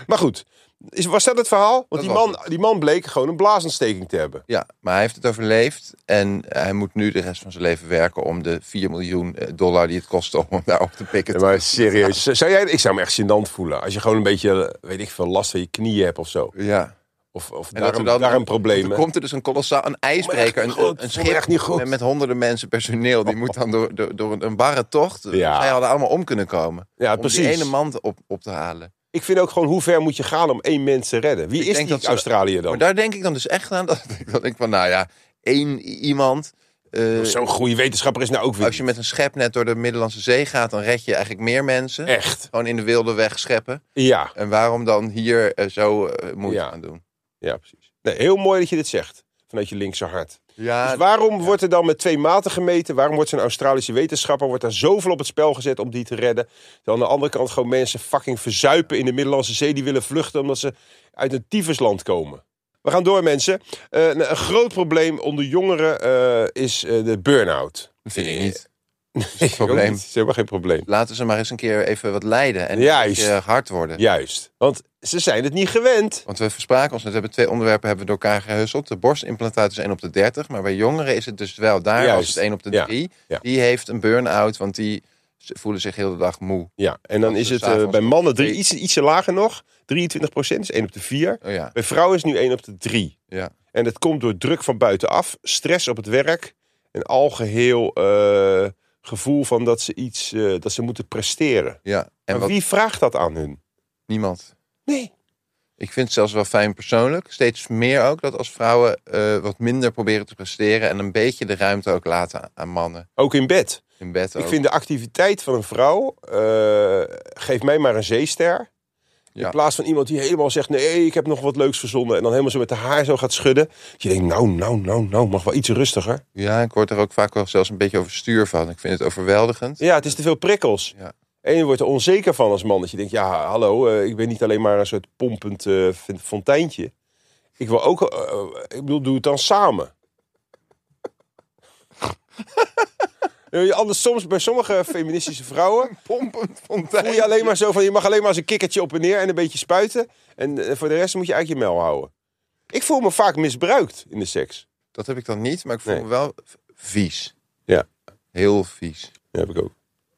Speaker 1: Maar goed, is, was dat het verhaal? Want die
Speaker 2: was
Speaker 1: man, die man bleek gewoon een blaasontsteking te hebben.
Speaker 2: Ja, maar hij heeft het overleefd. En hij moet nu de rest van zijn leven werken om de 4 miljoen eh, dollar die het kost om hem daar op te pikken.
Speaker 1: Ja, maar serieus, zou jij, ik zou me echt gênant voelen. Als je gewoon een beetje, weet ik veel, last van je knieën hebt of zo.
Speaker 2: Ja.
Speaker 1: Of, of
Speaker 2: En dat
Speaker 1: daarom,
Speaker 2: er dan-
Speaker 1: daarom problemen.
Speaker 2: Dan komt er dus een kolossaal, een ijsbreker,
Speaker 1: goed,
Speaker 2: een, een
Speaker 1: vond ik
Speaker 2: schip
Speaker 1: echt niet goed.
Speaker 2: Met, met honderden mensen personeel. Die moet dan door, door, door een, een barre tocht. Dus
Speaker 1: Ja.
Speaker 2: Zij hadden allemaal om kunnen komen.
Speaker 1: Ja,
Speaker 2: om
Speaker 1: precies.
Speaker 2: die ene man op, op te halen.
Speaker 1: Ik vind ook gewoon, hoe ver moet je gaan om één mens te redden? Wie is
Speaker 2: denk
Speaker 1: die
Speaker 2: dat ze-
Speaker 1: Australië dan?
Speaker 2: Maar daar denk ik dan dus echt aan. Dat ik dan denk van, nou ja, één i- iemand. eh,
Speaker 1: Zo'n goede wetenschapper is nou ook weer
Speaker 2: als je met een schepnet door de Middellandse Zee gaat, dan red je eigenlijk meer mensen.
Speaker 1: niet. Echt,
Speaker 2: Gewoon in de wilde weg scheppen.
Speaker 1: ja.
Speaker 2: En waarom dan hier eh, zo eh, moeite
Speaker 1: Ja.
Speaker 2: aan doen?
Speaker 1: Ja, precies. Nee, heel mooi dat je dit zegt, vanuit je linkse hart.
Speaker 2: Ah, Ja,
Speaker 1: Dus waarom wordt er dan met twee maten gemeten? Waarom wordt zo'n Australische wetenschapper wordt daar zoveel op het spel gezet om die te redden? Dan aan de andere kant gewoon mensen fucking verzuipen in de Middellandse Zee die willen vluchten omdat ze uit een tyfusland komen. We gaan door, mensen. Eh, nou, een groot probleem onder jongeren eh, is eh, de burn-out.
Speaker 2: dat vind ik
Speaker 1: Eh,
Speaker 2: niet.
Speaker 1: Nee,
Speaker 2: probleem.
Speaker 1: ook niet. is helemaal geen probleem.
Speaker 2: Laten ze maar eens een keer even wat lijden. En een
Speaker 1: Juist.
Speaker 2: beetje hard worden.
Speaker 1: Juist, want ze zijn het niet gewend.
Speaker 2: Want we verspraken ons net. We hebben twee onderwerpen hebben we door elkaar gehusseld. De borstimplantaat is 1 op de 30. Maar bij jongeren is het dus wel. Daar
Speaker 1: Juist.
Speaker 2: was het 1 op de
Speaker 1: Ja.
Speaker 2: 3.
Speaker 1: Ja.
Speaker 2: Die heeft een burn-out. Want die z- voelen zich heel de dag moe.
Speaker 1: Ja, en dan
Speaker 2: Want
Speaker 1: is
Speaker 2: we
Speaker 1: het eh,
Speaker 2: s'avonds
Speaker 1: bij
Speaker 2: om
Speaker 1: mannen drie,
Speaker 2: twee-
Speaker 1: iets, ietsje lager nog. 23 procent, is 1 op de 4.
Speaker 2: Oh ja.
Speaker 1: Bij vrouwen is nu 1 op de 3.
Speaker 2: ja.
Speaker 1: En dat komt door druk van buitenaf, stress op het werk en algeheel eh, gevoel van dat ze iets eh, dat ze moeten presteren.
Speaker 2: ja. En
Speaker 1: En
Speaker 2: wat
Speaker 1: wie vraagt dat aan hun?
Speaker 2: niemand.
Speaker 1: Nee.
Speaker 2: Ik vind het zelfs wel fijn persoonlijk. Steeds meer ook dat als vrouwen eh, wat minder proberen te presteren. En een beetje de ruimte ook laten aan- aan mannen.
Speaker 1: Ook in bed.
Speaker 2: In bed ook.
Speaker 1: Ik vind de activiteit van een vrouw, eh, geef mij maar een zeester. In
Speaker 2: Ja.
Speaker 1: plaats van iemand die helemaal zegt, nee, ik heb nog wat leuks verzonnen. En dan helemaal zo met de haar zo gaat schudden. Dat je denkt, nou, nou, nou, nou, mag wel iets rustiger.
Speaker 2: Ja, ik word er ook vaak wel zelfs een beetje overstuur van. Ik vind het overweldigend.
Speaker 1: Ja, het is te veel prikkels.
Speaker 2: Ja.
Speaker 1: En je wordt er onzeker van als man. Dat je denkt, ja, hallo, eh, ik ben niet alleen maar een soort pompend eh, fon- fonteintje. Ik wil ook, eh, eh, ik bedoel, doe het dan samen. Ja, Anders soms bij sommige feministische vrouwen
Speaker 2: Pompen,
Speaker 1: voel
Speaker 2: fontein.
Speaker 1: je alleen maar zo van, je mag alleen maar eens een kikkertje op en neer en een beetje spuiten. En eh, voor de rest moet je eigenlijk je mel houden. Ik voel me vaak misbruikt in de seks.
Speaker 2: Dat heb ik dan niet, maar ik voel
Speaker 1: Nee.
Speaker 2: me wel v- vies.
Speaker 1: Ja.
Speaker 2: Heel vies.
Speaker 1: Dat heb ik ook.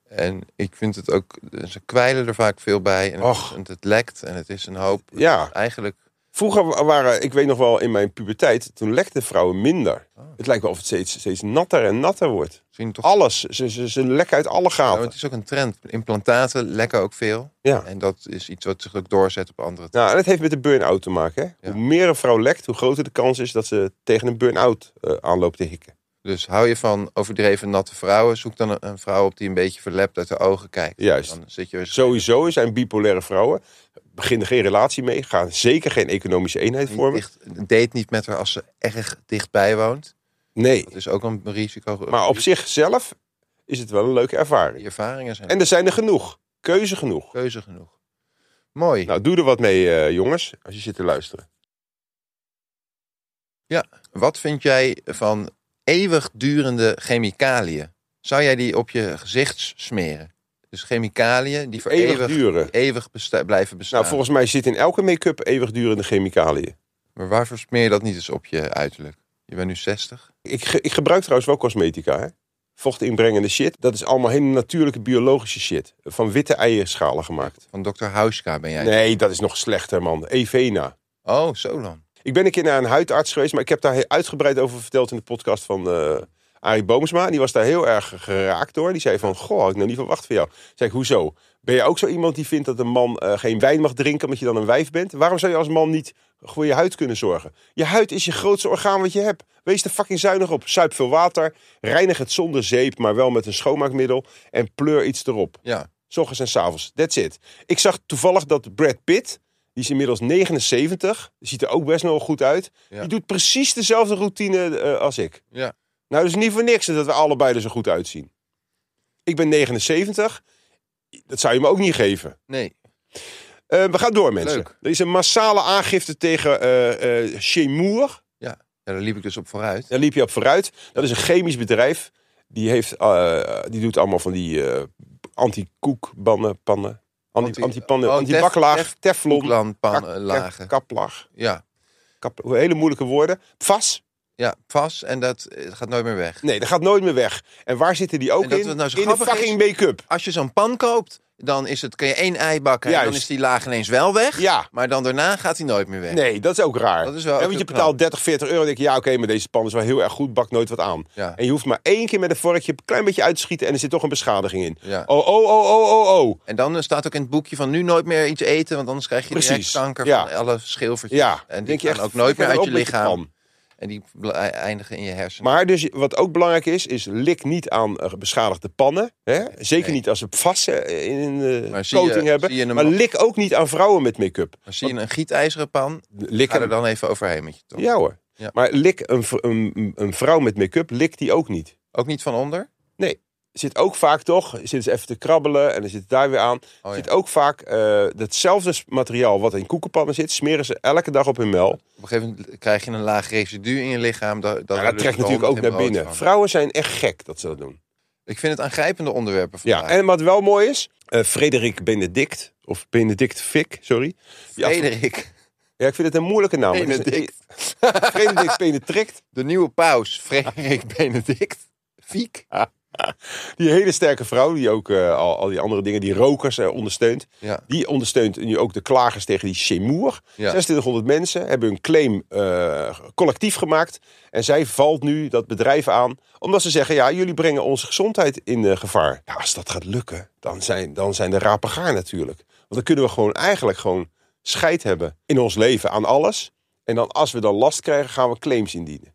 Speaker 2: En ik vind het ook, ze kwijlen er vaak veel bij. En, het-
Speaker 1: Och.
Speaker 2: en het, lekt en het is een hoop.
Speaker 1: Ja.
Speaker 2: Eigenlijk,
Speaker 1: Vroeger wa- waren, ik weet nog wel, in mijn puberteit, toen lekten vrouwen minder. Het lijkt wel of het steeds, steeds natter en natter wordt.
Speaker 2: zien Ah. toch.
Speaker 1: Alles, ze, ze, ze lekken uit alle
Speaker 2: Ja,
Speaker 1: gaten.
Speaker 2: maar het is ook een trend. Implantaten lekken ook veel.
Speaker 1: Ja.
Speaker 2: En dat is iets wat zich ook doorzet op andere.
Speaker 1: Nou, en dat heeft met de burn-out te maken. Hè?
Speaker 2: Ja.
Speaker 1: Hoe meer een vrouw lekt, hoe groter de kans is dat ze tegen een burn-out eh, aanloopt te hikken.
Speaker 2: Dus hou je van overdreven natte vrouwen, zoek dan een, een vrouw op die een beetje verlept uit de ogen kijkt.
Speaker 1: Juist.
Speaker 2: Dan zit je weer
Speaker 1: Sowieso zijn bipolaire vrouwen, beginnen geen relatie mee, gaan zeker geen economische eenheid
Speaker 2: niet
Speaker 1: vormen.
Speaker 2: dicht, date niet met haar als ze erg dichtbij woont.
Speaker 1: Nee,
Speaker 2: Dat is ook een risico.
Speaker 1: maar op zichzelf is het wel een leuke ervaring.
Speaker 2: Die ervaringen zijn
Speaker 1: En er zijn er genoeg, keuze genoeg.
Speaker 2: keuze genoeg. Mooi.
Speaker 1: Nou, doe er wat mee, eh, jongens, als je zit te luisteren.
Speaker 2: Wat vind jij van eeuwigdurende chemicaliën? Zou jij die op je gezicht smeren? Dus chemicaliën die voor
Speaker 1: Eeuwig
Speaker 2: eeuwig,
Speaker 1: duren.
Speaker 2: eeuwig besta- blijven bestaan.
Speaker 1: Nou, volgens mij zit in elke make-up eeuwigdurende chemicaliën.
Speaker 2: Maar waarvoor smeer je dat niet eens op je uiterlijk? Je bent nu 60.
Speaker 1: Ik, ge- ik gebruik trouwens wel cosmetica, hè. Vochtinbrengende shit. Dat is allemaal hele natuurlijke biologische shit. Van witte eierschalen gemaakt.
Speaker 2: Van dokter Hauska ben jij.
Speaker 1: Nee, dat is nog slechter, man. Evena.
Speaker 2: Oh, zo dan.
Speaker 1: Ik ben een keer naar een huidarts geweest, maar ik heb daar heel uitgebreid over verteld in de podcast van eh Arie Boomsma. En Die was daar heel erg geraakt door. Die zei van, goh, had ik nou niet verwacht van jou. Zeg ik, hoezo? Ben je ook zo iemand die vindt dat een man eh, geen wijn mag drinken omdat je dan een wijf bent? Waarom zou je als man niet voor je huid kunnen zorgen? Je huid is je grootste orgaan wat je hebt. Wees er fucking zuinig op. Suip veel water, reinig het zonder zeep, maar wel met een schoonmaakmiddel en pleur iets erop.
Speaker 2: Ja.
Speaker 1: S ochtends en s avonds. That's it. Ik zag toevallig dat Brad Pitt, die is inmiddels 79, ziet er ook best nog wel goed uit.
Speaker 2: Ja.
Speaker 1: Die doet precies dezelfde routine eh, als ik.
Speaker 2: Ja.
Speaker 1: Nou, dus niet voor niks dat we allebei er zo goed uitzien. Ik ben 79. Dat zou je me ook niet geven.
Speaker 2: Nee.
Speaker 1: Eh, we gaan door, mensen.
Speaker 2: Leuk.
Speaker 1: Er is een massale aangifte tegen eh eh Chemour.
Speaker 2: Ja, daar liep ik dus op vooruit.
Speaker 1: Daar liep je op vooruit. Dat is een chemisch bedrijf. Die, heeft, eh, die doet allemaal van die eh anti-koekbannen, pannen.
Speaker 2: Anti-
Speaker 1: Anti- Anti-pannen,
Speaker 2: oh,
Speaker 1: anti-baklaag,
Speaker 2: tef- tef-
Speaker 1: teflon,
Speaker 2: Koekland, pan,
Speaker 1: kak-
Speaker 2: eh,
Speaker 1: kak-
Speaker 2: lagen.
Speaker 1: kaplaag.
Speaker 2: Ja,
Speaker 1: Kap, hele moeilijke woorden. Vas?
Speaker 2: ja, vast. En dat eh, gaat nooit meer weg.
Speaker 1: Nee, dat gaat nooit meer weg. En waar zitten die ook
Speaker 2: En dat
Speaker 1: in?
Speaker 2: het nou zo
Speaker 1: in de
Speaker 2: grappig
Speaker 1: fucking make-up.
Speaker 2: Als je zo'n pan koopt, dan is het, kun je één ei bakken. En
Speaker 1: Juist.
Speaker 2: dan is die laag ineens wel weg.
Speaker 1: Ja.
Speaker 2: Maar dan daarna gaat hij nooit meer weg.
Speaker 1: Nee, dat is ook raar.
Speaker 2: Dat is wel
Speaker 1: Ja,
Speaker 2: echt
Speaker 1: want je
Speaker 2: heel knap.
Speaker 1: betaalt 30, 40 euro. En denk je, ja, oké, maar deze pan is wel heel erg goed. Bak nooit wat aan.
Speaker 2: Ja.
Speaker 1: En je hoeft maar één keer met een vorkje een klein beetje uit te schieten. En er zit toch een beschadiging in.
Speaker 2: Ja.
Speaker 1: Oh, oh, oh, oh, oh, oh.
Speaker 2: En dan eh, staat ook in het boekje van nu nooit meer iets eten, want anders krijg je direct
Speaker 1: Precies,
Speaker 2: kanker
Speaker 1: ja.
Speaker 2: van alle schilfertjes.
Speaker 1: Ja.
Speaker 2: en die
Speaker 1: denk je
Speaker 2: gaan
Speaker 1: echt
Speaker 2: ook nooit meer
Speaker 1: flikker
Speaker 2: uit je
Speaker 1: op met
Speaker 2: lichaam.
Speaker 1: pan.
Speaker 2: en die bl- eindigen in je hersenen.
Speaker 1: Maar dus wat ook belangrijk is, is lik niet aan eh, beschadigde pannen. Hè? Zeker
Speaker 2: Nee.
Speaker 1: niet als ze vast eh, in een eh,
Speaker 2: Maar zie je-
Speaker 1: coating hebben.
Speaker 2: zie je hem
Speaker 1: maar
Speaker 2: al-
Speaker 1: lik ook niet aan vrouwen met make-up.
Speaker 2: Maar zie je een gietijzeren pan,
Speaker 1: Lik
Speaker 2: ga er
Speaker 1: aan...
Speaker 2: dan even overheen met je tong.
Speaker 1: Ja hoor.
Speaker 2: Ja.
Speaker 1: Maar lik een, v- een, een vrouw met make-up, likt die ook niet.
Speaker 2: Ook niet van onder?
Speaker 1: Zit ook vaak toch, zit ze even te krabbelen en dan zit het daar weer aan.
Speaker 2: Oh, ja.
Speaker 1: Zit ook vaak eh, datzelfde materiaal wat in koekenpannen zit, smeren ze elke dag op hun mel.
Speaker 2: Op een gegeven moment krijg je een laag residu in je lichaam. Dat, dus
Speaker 1: Ja, dat trekt natuurlijk ook naar binnen. Vrouwen zijn echt gek dat ze dat doen.
Speaker 2: Ik vind het aangrijpende onderwerpen
Speaker 1: Ja,
Speaker 2: vandaag.
Speaker 1: en wat wel mooi is, eh, Frederik Benedict, of Benedict Fik, sorry. Die af-
Speaker 2: Frederik,
Speaker 1: Ja, ik vind het een moeilijke naam.
Speaker 2: Benedict.
Speaker 1: Benedict Benedict,
Speaker 2: de nieuwe paus, Frederik Benedict, Fiek.
Speaker 1: Ah. die hele sterke vrouw, die ook eh, al, al die andere dingen, die rokers eh, ondersteunt.
Speaker 2: Ja.
Speaker 1: Die ondersteunt nu ook de klagers tegen die Chemour.
Speaker 2: Ja.
Speaker 1: 2600 mensen hebben hun claim eh, collectief gemaakt. En zij valt nu dat bedrijf aan, omdat ze zeggen, ja, jullie brengen onze gezondheid in eh, gevaar. Ja, als dat gaat lukken, dan zijn, dan zijn de rapen gaar natuurlijk. Want dan kunnen we gewoon eigenlijk gewoon scheid hebben in ons leven aan alles. En dan als we dan last krijgen, gaan we claims indienen.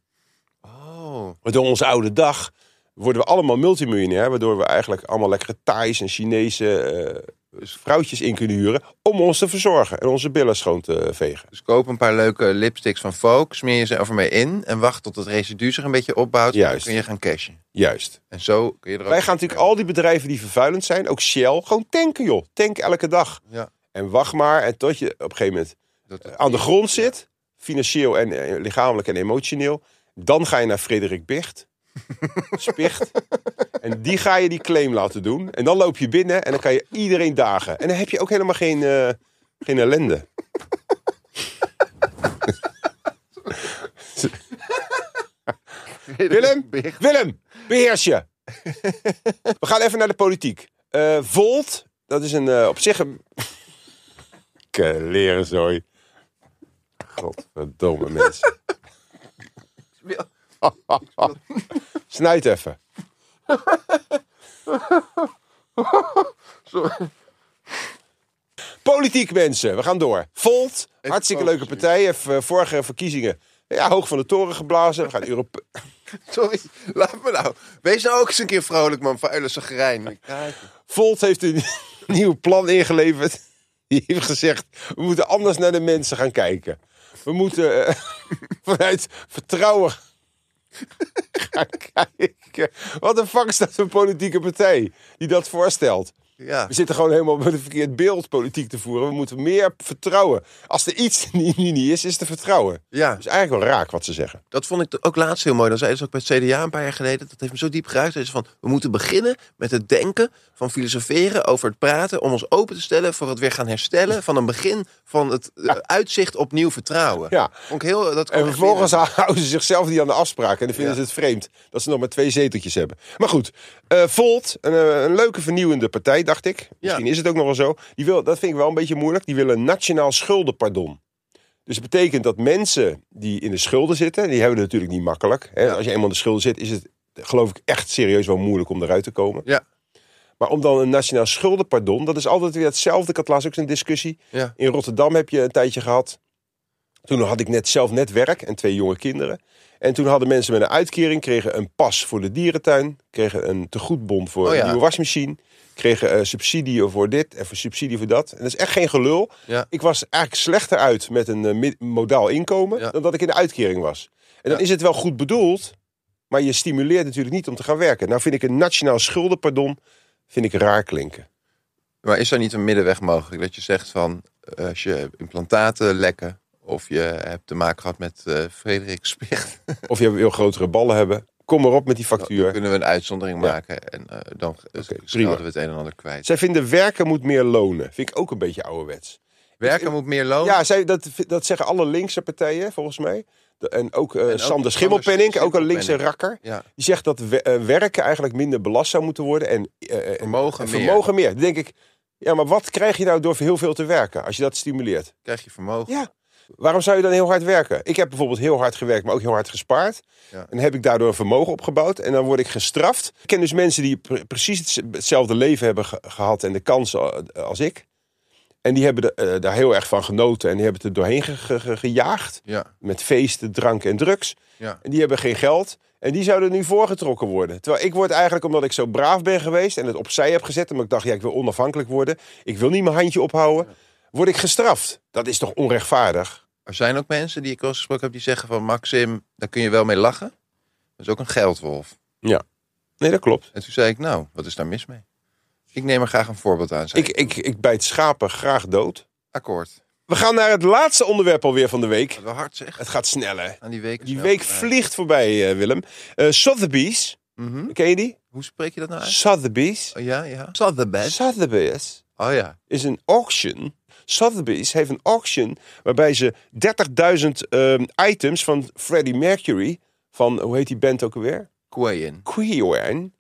Speaker 2: Oh,
Speaker 1: Door onze oude dag worden we allemaal multimiljonair. Waardoor we eigenlijk allemaal lekkere Thais en Chinese eh,
Speaker 2: Dus
Speaker 1: vrouwtjes in kunnen huren. Om ons te verzorgen en onze billen schoon te vegen.
Speaker 2: Dus koop een paar leuke lipsticks van Vogue, smeer je ze over mee in en wacht tot het residu zich een beetje opbouwt. en Dan
Speaker 1: Juist.
Speaker 2: kun je gaan cashen.
Speaker 1: Juist.
Speaker 2: En zo kun je er ook.
Speaker 1: Wij gaan natuurlijk al die bedrijven die vervuilend zijn, ook Shell, gewoon tanken joh. Tank elke dag.
Speaker 2: Ja.
Speaker 1: En wacht maar en tot je op een gegeven moment
Speaker 2: Dat het-
Speaker 1: aan de grond zit. Financieel en eh, lichamelijk en emotioneel. Dan ga je naar Frederik Bicht. Spicht. En die ga je die claim laten doen. En dan loop je binnen en dan kan je iedereen dagen. En dan heb je ook helemaal geen, eh, geen ellende. Willem, Willem, beheers je. We gaan even naar de politiek. Eh, Volt, dat is een eh, op zich een... Leren zooi. Godverdomme mensen. Snuit even. Politiek mensen, we gaan door. Volt, hartstikke leuke
Speaker 2: focussen.
Speaker 1: partij. Heeft, eh, Vorige verkiezingen ja, hoog van de toren geblazen. We gaan Europe
Speaker 2: Sorry, laat me nou. Wees nou ook eens een keer vrolijk, man. Vuile zagrijn.
Speaker 1: Volt heeft een nieuw plan ingeleverd. Die heeft gezegd, we moeten anders naar de mensen gaan kijken. We moeten eh, vanuit vertrouwen gaan kijken. Wat de fuck is dat voor een politieke partij die dat voorstelt?
Speaker 2: Ja.
Speaker 1: We zitten gewoon helemaal met een verkeerd beeld politiek te voeren. We moeten meer vertrouwen. Als er iets niet, niet, niet is, is te vertrouwen.
Speaker 2: ja,
Speaker 1: Dat is eigenlijk wel raak wat ze zeggen.
Speaker 2: dat vond ik ook laatst heel mooi. Dat zei ze ook bij het CDA een paar jaar geleden. Dat heeft me zo diep geraakt. Dat is van, we moeten beginnen met het denken van filosoferen over het praten. Om ons open te stellen voor het weer gaan herstellen van een begin van het eh, uitzicht op nieuw vertrouwen.
Speaker 1: Ja.
Speaker 2: Vond ik heel, eh, dat kwam
Speaker 1: En
Speaker 2: echt
Speaker 1: vervolgens
Speaker 2: binnen.
Speaker 1: houden ze zichzelf niet aan de afspraken. En dan vinden
Speaker 2: Ja.
Speaker 1: ze het vreemd dat ze nog maar twee zeteltjes hebben. Maar goed, eh, Volt, een, eh, een leuke vernieuwende partij, dacht ik. Misschien is het ook nog wel zo. Die wil, dat vind ik wel een beetje moeilijk. Die willen een nationaal schuldenpardon. Dus dat betekent dat mensen die in de schulden zitten, die hebben het natuurlijk niet makkelijk. Hè? Als je eenmaal in de schulden zit, is het geloof ik echt serieus wel moeilijk om eruit te komen.
Speaker 2: Ja.
Speaker 1: Maar om dan een nationaal schuldenpardon, dat is altijd weer hetzelfde. Ik had laatst ook zo'n discussie.
Speaker 2: Ja.
Speaker 1: In Rotterdam heb je een tijdje gehad. Toen had ik net zelf net werk en twee jonge kinderen. En toen hadden mensen met een uitkering, kregen een pas voor de dierentuin, kregen een tegoedbon voor
Speaker 2: Oh ja.
Speaker 1: een nieuwe wasmachine, kregen eh, subsidie voor dit en voor subsidie voor dat. En dat is echt geen gelul.
Speaker 2: Ja.
Speaker 1: Ik was eigenlijk slechter uit met een eh, mid- modaal inkomen
Speaker 2: Ja.
Speaker 1: dan dat ik in de uitkering was. En dan
Speaker 2: Ja.
Speaker 1: is het wel goed bedoeld, maar je stimuleert natuurlijk niet om te gaan werken. Nou vind ik een nationaal schuldenpardon vind ik raar klinken.
Speaker 2: Maar is er niet een middenweg mogelijk? Dat je zegt van, eh, als je implantaten lekken... of je hebt te maken gehad met eh Frederik Spicht...
Speaker 1: Of je wil grotere ballen hebben. Kom maar op met die
Speaker 2: dan
Speaker 1: factuur.
Speaker 2: kunnen we een uitzondering
Speaker 1: Ja.
Speaker 2: maken. En eh, dan eh, schelden
Speaker 1: prima.
Speaker 2: we het een en ander kwijt.
Speaker 1: Zij vinden werken moet meer lonen. Vind ik ook een beetje ouderwets.
Speaker 2: Werken moet meer loon.
Speaker 1: dus Ja, zij, dat, dat zeggen alle linkse partijen volgens mij. De- En ook, eh,
Speaker 2: ook
Speaker 1: Sander
Speaker 2: Sander
Speaker 1: Schimmelpenninck, ook een linkse
Speaker 2: Schimmelpenninck.
Speaker 1: rakker.
Speaker 2: Ja.
Speaker 1: Die zegt dat we- eh, werken eigenlijk minder belast zou moeten worden. En, eh, eh, en-
Speaker 2: Vermogen
Speaker 1: en
Speaker 2: meer.
Speaker 1: vermogen meer. Dan denk ik, ja, maar wat krijg je nou door heel veel te werken als je dat stimuleert?
Speaker 2: krijg je vermogen.
Speaker 1: Ja. Waarom zou je dan heel hard werken? Ik heb bijvoorbeeld heel hard gewerkt, maar ook heel hard gespaard.
Speaker 2: Ja.
Speaker 1: En heb ik daardoor een vermogen opgebouwd. En dan word ik gestraft. Ik ken dus mensen die pre- precies het- hetzelfde leven hebben ge- gehad en de kansen eh, als ik. En die hebben de- eh, daar heel erg van genoten. En die hebben het er doorheen ge- ge- ge- gejaagd.
Speaker 2: Ja.
Speaker 1: Met feesten, drank en drugs.
Speaker 2: Ja.
Speaker 1: En die hebben geen geld. En die zouden nu voorgetrokken worden. Terwijl ik word eigenlijk, omdat ik zo braaf ben geweest... en het opzij heb gezet, omdat ik dacht, ja, ik wil onafhankelijk worden. Ik wil niet mijn handje ophouden. Word ik gestraft. Dat is toch onrechtvaardig?
Speaker 2: Er zijn ook mensen die ik wel eens gesproken heb die zeggen van... Maxim, daar kun je wel mee lachen. Dat is ook een geldwolf.
Speaker 1: Nee, dat klopt.
Speaker 2: En toen zei ik, nou, wat is daar mis mee? Ik neem er graag een voorbeeld aan. zei
Speaker 1: Ik, ik, ik bijt schapen graag dood.
Speaker 2: Akkoord.
Speaker 1: We gaan naar het laatste onderwerp alweer van de week.
Speaker 2: Wat wel hard zeg.
Speaker 1: Het gaat snel, hè?
Speaker 2: Aan die week. is
Speaker 1: Die
Speaker 2: wel
Speaker 1: week
Speaker 2: voorbij.
Speaker 1: vliegt voorbij, eh, Willem. Eh, Sotheby's.
Speaker 2: Mhm.
Speaker 1: Ken je die?
Speaker 2: Hoe spreek je dat nou uit?
Speaker 1: Sotheby's.
Speaker 2: Oh, ja, ja. Sotheby's.
Speaker 1: Sotheby's
Speaker 2: Oh ja.
Speaker 1: is een auction. Sotheby's heeft een auction waarbij ze 30.000 ehm, items van Freddie Mercury... van, hoe heet die band ook alweer?
Speaker 2: Queen.
Speaker 1: Queen.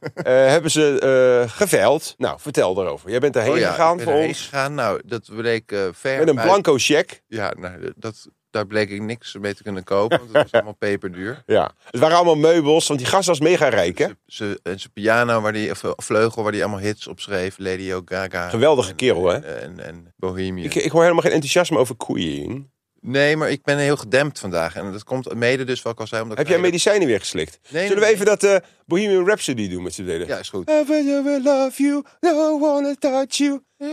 Speaker 1: eh, hebben ze eh, geveild. Nou, vertel daarover. Jij bent daarheen
Speaker 2: oh, ja. ik
Speaker 1: gegaan
Speaker 2: ben
Speaker 1: voor
Speaker 2: erheen
Speaker 1: ons.
Speaker 2: gegaan. Nou, dat bleek eh ver.
Speaker 1: Met een
Speaker 2: uit-
Speaker 1: blanco check.
Speaker 2: Ja, nou, dat, daar bleek ik niks mee te kunnen kopen. Want het was allemaal peperduur.
Speaker 1: Ja. Het waren allemaal meubels, want die gast was mega rijk, hè?
Speaker 2: Ze, ze, en zijn piano, waar die, of eh, vleugel, waar die allemaal hits op schreef. Lady O. Gaga.
Speaker 1: Geweldige
Speaker 2: En-
Speaker 1: kerel, hè?
Speaker 2: En, en, en Bohemian.
Speaker 1: Ik, ik hoor helemaal geen enthousiasme over koeien.
Speaker 2: Nee, maar ik ben heel gedempt vandaag. En dat komt mede dus, wat ik al zei. Omdat ik
Speaker 1: Heb jij
Speaker 2: een hele-
Speaker 1: medicijnen weer geslikt?
Speaker 2: nee,
Speaker 1: Zullen we
Speaker 2: nee.
Speaker 1: even dat eh, Bohemian Rhapsody doen met z'n delen?
Speaker 2: Ja, is goed.
Speaker 1: I will never love you, no one wanna touch you.
Speaker 2: Hm?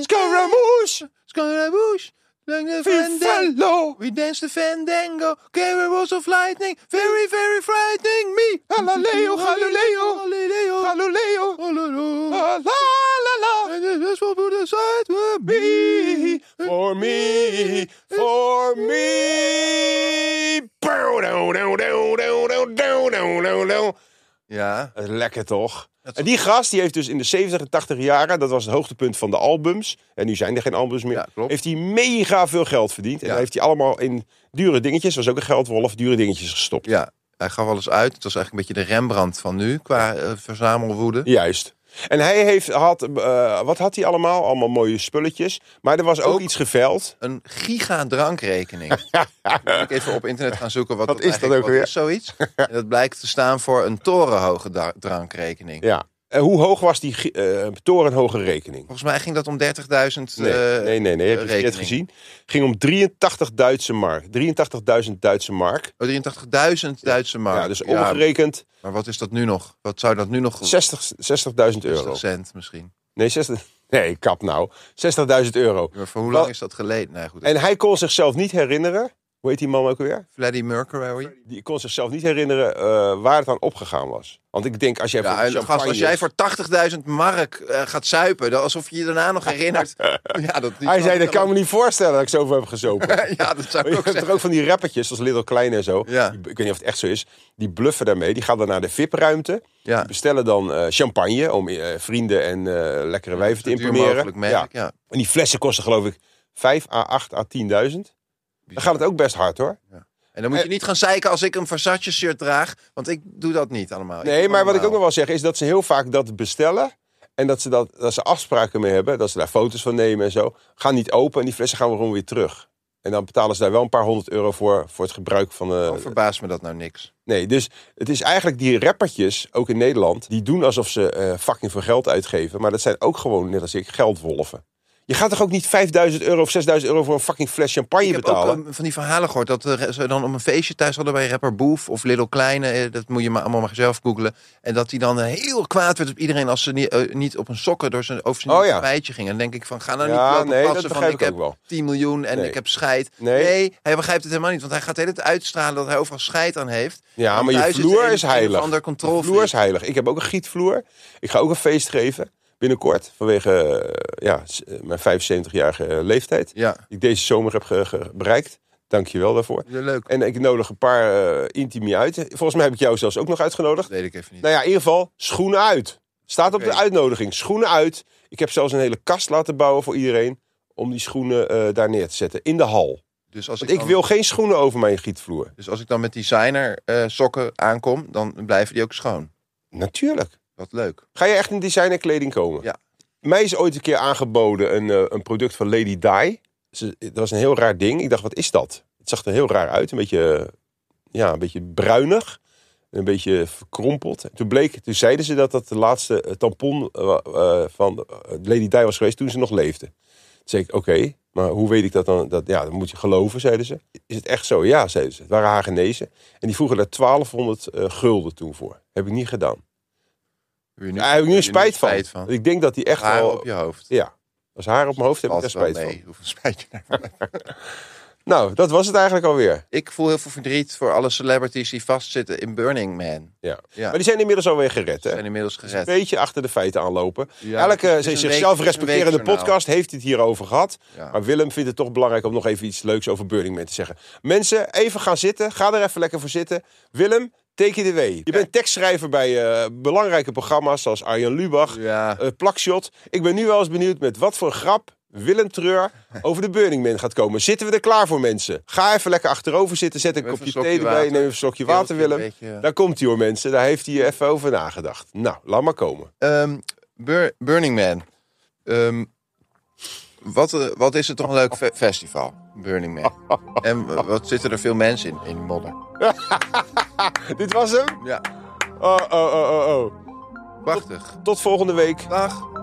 Speaker 1: Scaramouche,
Speaker 2: Scaramouche, lange
Speaker 1: Vivallo,
Speaker 2: We dance the fandango, carols of lightning, very, very frightening me.
Speaker 1: Galileo, Galileo,
Speaker 2: Galileo,
Speaker 1: Galileo,
Speaker 2: Galileo.
Speaker 1: la la la.
Speaker 2: And this will put aside for
Speaker 1: Me,
Speaker 2: me.
Speaker 1: for me, for me. Bow, dow, dow, dow, dow, dow, dow, dow, dow, dow.
Speaker 2: Ja,
Speaker 1: Lekker toch?
Speaker 2: Dat is
Speaker 1: En die gast die heeft dus in de 70 en 80 jaren, dat was het hoogtepunt van de albums. En nu zijn er geen albums meer.
Speaker 2: Ja, klopt.
Speaker 1: heeft hij mega veel geld verdiend. En
Speaker 2: Ja.
Speaker 1: heeft hij allemaal in dure dingetjes, was ook een geldwolf, dure dingetjes gestopt.
Speaker 2: ja. Hij gaf alles uit. Het was eigenlijk een beetje de Rembrandt van nu qua eh, verzamelwoede.
Speaker 1: Juist. En hij heeft, had, eh, wat had hij allemaal? Allemaal mooie spulletjes. Maar er was ook,
Speaker 2: Ook.
Speaker 1: iets geveild.
Speaker 2: Een gigadrankrekening. Moet ik even op internet gaan zoeken wat,
Speaker 1: Wat
Speaker 2: dat
Speaker 1: is dat
Speaker 2: eigenlijk-
Speaker 1: ook
Speaker 2: wat is zoiets. En dat blijkt te staan voor een torenhoge da- drankrekening.
Speaker 1: Ja. En Eh, hoe hoog was die gi- eh, torenhoge rekening?
Speaker 2: Volgens mij ging dat om 30.000
Speaker 1: Nee,
Speaker 2: eh,
Speaker 1: nee, nee, nee. Heb je het verkeerd
Speaker 2: rekening.
Speaker 1: gezien? Ging om 83 Duitse mark. 83.000 Duitse mark.
Speaker 2: Oh, 83.000 Duitse mark.
Speaker 1: Ja, dus omgerekend
Speaker 2: maar wat is dat nu nog? Wat zou dat nu nog?
Speaker 1: 60 60.000 euro.
Speaker 2: 60 cent misschien.
Speaker 1: Nee, 60, nee, kap nou. 60.000 euro.
Speaker 2: Maar voor hoe
Speaker 1: Wel-
Speaker 2: lang is dat geleden? Nee, goed.
Speaker 1: En hij kon zichzelf niet herinneren. Hoe heet die man ook weer?
Speaker 2: Freddie Mercury.
Speaker 1: Die kon zichzelf niet herinneren eh, waar het aan opgegaan was. Want ik denk, als jij
Speaker 2: Ja,
Speaker 1: voor
Speaker 2: en
Speaker 1: champagne-
Speaker 2: gast, als jij voor 80.000 mark eh, gaat zuipen, dan alsof je je daarna nog herinnert. ja, dat, die
Speaker 1: Hij zei,
Speaker 2: ik
Speaker 1: dat kan Oh,
Speaker 2: dan-
Speaker 1: me niet voorstellen dat ik zoveel heb gezopen.
Speaker 2: Ja, dat zou
Speaker 1: Maar
Speaker 2: ik
Speaker 1: je
Speaker 2: ook
Speaker 1: hebt
Speaker 2: zeggen.
Speaker 1: er ook van die rappertjes, zoals Little Klein en zo.
Speaker 2: Ja.
Speaker 1: Die- ik weet niet of het echt zo is. Die bluffen daarmee. Die gaan dan naar de VIP-ruimte.
Speaker 2: Ja,
Speaker 1: Die bestellen dan eh, champagne om eh, vrienden en eh, lekkere wijven te
Speaker 2: zo duur
Speaker 1: imprimeren.
Speaker 2: mogelijk merk, ja.
Speaker 1: En die flessen kosten geloof ik 5 à 8 à 10.000. Dan gaat het Eh, ook best hard hoor.
Speaker 2: En dan moet je niet gaan zeiken als ik een Versace shirt draag, want ik doe dat niet allemaal.
Speaker 1: Nee, maar wat ik ook nog wel zeg is dat ze heel vaak dat bestellen. En dat ze, dat, dat ze afspraken mee hebben. Dat ze daar foto's van nemen en zo. Gaan niet open en die flessen gaan gewoon weer terug. En dan betalen ze daar wel een paar honderd euro voor. Voor het gebruik van... eh,
Speaker 2: Oh, verbaast me dat nou niks.
Speaker 1: Nee, dus het is eigenlijk die rappertjes, ook in Nederland, die doen alsof ze eh, fucking veel geld uitgeven. Maar dat zijn ook gewoon, net als ik, geldwolven. Je gaat toch ook niet 5000 euro of 6000 euro voor een fucking fles champagne
Speaker 2: Ik heb ook
Speaker 1: betalen?
Speaker 2: eh, van die verhalen gehoord dat eh, ze dan om een feestje thuis hadden bij rapper Boef of Little Kleine. eh, Dat moet je maar allemaal maar zelf googlen. En dat hij dan eh, heel kwaad werd op iedereen als ze niet, eh, niet op een sokken door zijn, over zijn
Speaker 1: Oh ja.
Speaker 2: tapijtje gingen. Dan denk ik van, ga nou niet
Speaker 1: Ja,
Speaker 2: lopen
Speaker 1: nee, dat
Speaker 2: passen van
Speaker 1: begrijp
Speaker 2: ik
Speaker 1: ik
Speaker 2: heb
Speaker 1: ook wel.
Speaker 2: 10 miljoen en
Speaker 1: Nee.
Speaker 2: ik heb scheid.
Speaker 1: Nee.
Speaker 2: Nee. hij begrijpt het helemaal niet. Want hij gaat de hele tijd uitstralen dat hij overal scheid aan heeft.
Speaker 1: Ja,
Speaker 2: En
Speaker 1: maar je
Speaker 2: thuis
Speaker 1: vloer
Speaker 2: er een
Speaker 1: is
Speaker 2: of ander
Speaker 1: heilig.
Speaker 2: Ander
Speaker 1: De vloer is
Speaker 2: controlevloer.
Speaker 1: heilig. Ik heb ook een gietvloer. Ik ga ook een feest geven. Binnenkort, vanwege eh, ja, s- eh, mijn 75-jarige eh, leeftijd.
Speaker 2: Ja,
Speaker 1: Die ik deze zomer heb ge- ge- bereikt. Dank je wel daarvoor.
Speaker 2: Ja, leuk.
Speaker 1: En ik nodig een paar eh, intimi uit. Volgens mij heb ik jou zelfs ook nog uitgenodigd.
Speaker 2: Dat weet ik even niet.
Speaker 1: Nou ja, in ieder geval, schoenen uit. Staat op
Speaker 2: Oké.
Speaker 1: de uitnodiging. Schoenen uit. Ik heb zelfs een hele kast laten bouwen voor iedereen. Om die schoenen eh, daar neer te zetten. In de hal.
Speaker 2: Dus als
Speaker 1: Want
Speaker 2: ik
Speaker 1: ik
Speaker 2: dan-
Speaker 1: wil geen schoenen over mijn gietvloer.
Speaker 2: Dus als ik dan met designer eh, sokken aankom, dan blijven die ook schoon.
Speaker 1: Natuurlijk.
Speaker 2: Wat leuk.
Speaker 1: Ga je echt in designerkleding komen?
Speaker 2: Ja.
Speaker 1: Mij is ooit een keer aangeboden een, eh, een product van Lady Di. Ze- Dat was een heel raar ding. Ik dacht, wat is dat? Het zag er heel raar uit. Een beetje, eh, ja, een beetje bruinig. Een beetje verkrompeld. Toen, bleek, toen zeiden ze dat dat de laatste eh, tampon eh, wa- eh, van eh, Lady Di was geweest toen ze nog leefde. Toen zei ik, oké, maar hoe weet ik dat dan? Dat, ja, dat moet je geloven, zeiden ze. Is het echt zo? Ja, zeiden ze. Het waren haar genezen. En die vroegen daar 1200 eh, gulden toen voor. Heb ik niet gedaan.
Speaker 2: Heb je
Speaker 1: Daar heb ik nu
Speaker 2: heb je
Speaker 1: spijt van. Ik denk dat hij echt
Speaker 2: Haar
Speaker 1: wel...
Speaker 2: op je hoofd.
Speaker 1: Ja. Als haar op mijn hoofd heb ik daar
Speaker 2: Valt wel
Speaker 1: spijt van.
Speaker 2: mee. Hoeveel spijt je daarvan hebt.
Speaker 1: Nou, dat was het eigenlijk alweer.
Speaker 2: Ik voel heel veel verdriet voor alle celebrities die vastzitten in Burning Man.
Speaker 1: Ja.
Speaker 2: Ja.
Speaker 1: Maar die zijn inmiddels alweer gered,
Speaker 2: Ze
Speaker 1: hè?
Speaker 2: zijn inmiddels
Speaker 1: Een
Speaker 2: gered.
Speaker 1: beetje achter de feiten aanlopen.
Speaker 2: Ja, het
Speaker 1: Elke
Speaker 2: is een week-
Speaker 1: zichzelf
Speaker 2: het is een
Speaker 1: respecterende
Speaker 2: weekjournaal.
Speaker 1: podcast heeft het hierover gehad.
Speaker 2: Ja.
Speaker 1: Maar Willem vindt het toch belangrijk om nog even iets leuks over Burning Man te zeggen. Mensen, even gaan zitten. Ga er even lekker voor zitten. Willem, take it away. Je bent tekstschrijver bij eh, belangrijke programma's zoals Arjen Lubach,
Speaker 2: Ja.
Speaker 1: eh, Plakshot. Ik ben nu wel eens benieuwd met wat voor grap Willem Treur over de Burning Man gaat komen. Zitten we er klaar voor, mensen? Ga even lekker achterover zitten. Zet een
Speaker 2: Even een
Speaker 1: kopje
Speaker 2: slokje
Speaker 1: thee erbij.
Speaker 2: water.
Speaker 1: Neem even een eh. slokje
Speaker 2: Heel
Speaker 1: water,
Speaker 2: klein
Speaker 1: Willem.
Speaker 2: beetje.
Speaker 1: Daar komt hij hoor, mensen. Daar heeft hij eh, even over nagedacht. Nou, laat maar komen.
Speaker 2: Ehm, Bur- Burning Man. Ehm, wat, eh, wat is het toch een leuk fe- festival, Burning Man. en w- wat zitten er veel mensen in, in die modder.
Speaker 1: Dit was hem.
Speaker 2: Ja,
Speaker 1: Oh, oh, oh, oh, oh.
Speaker 2: prachtig.
Speaker 1: Tot volgende week.
Speaker 2: Dag.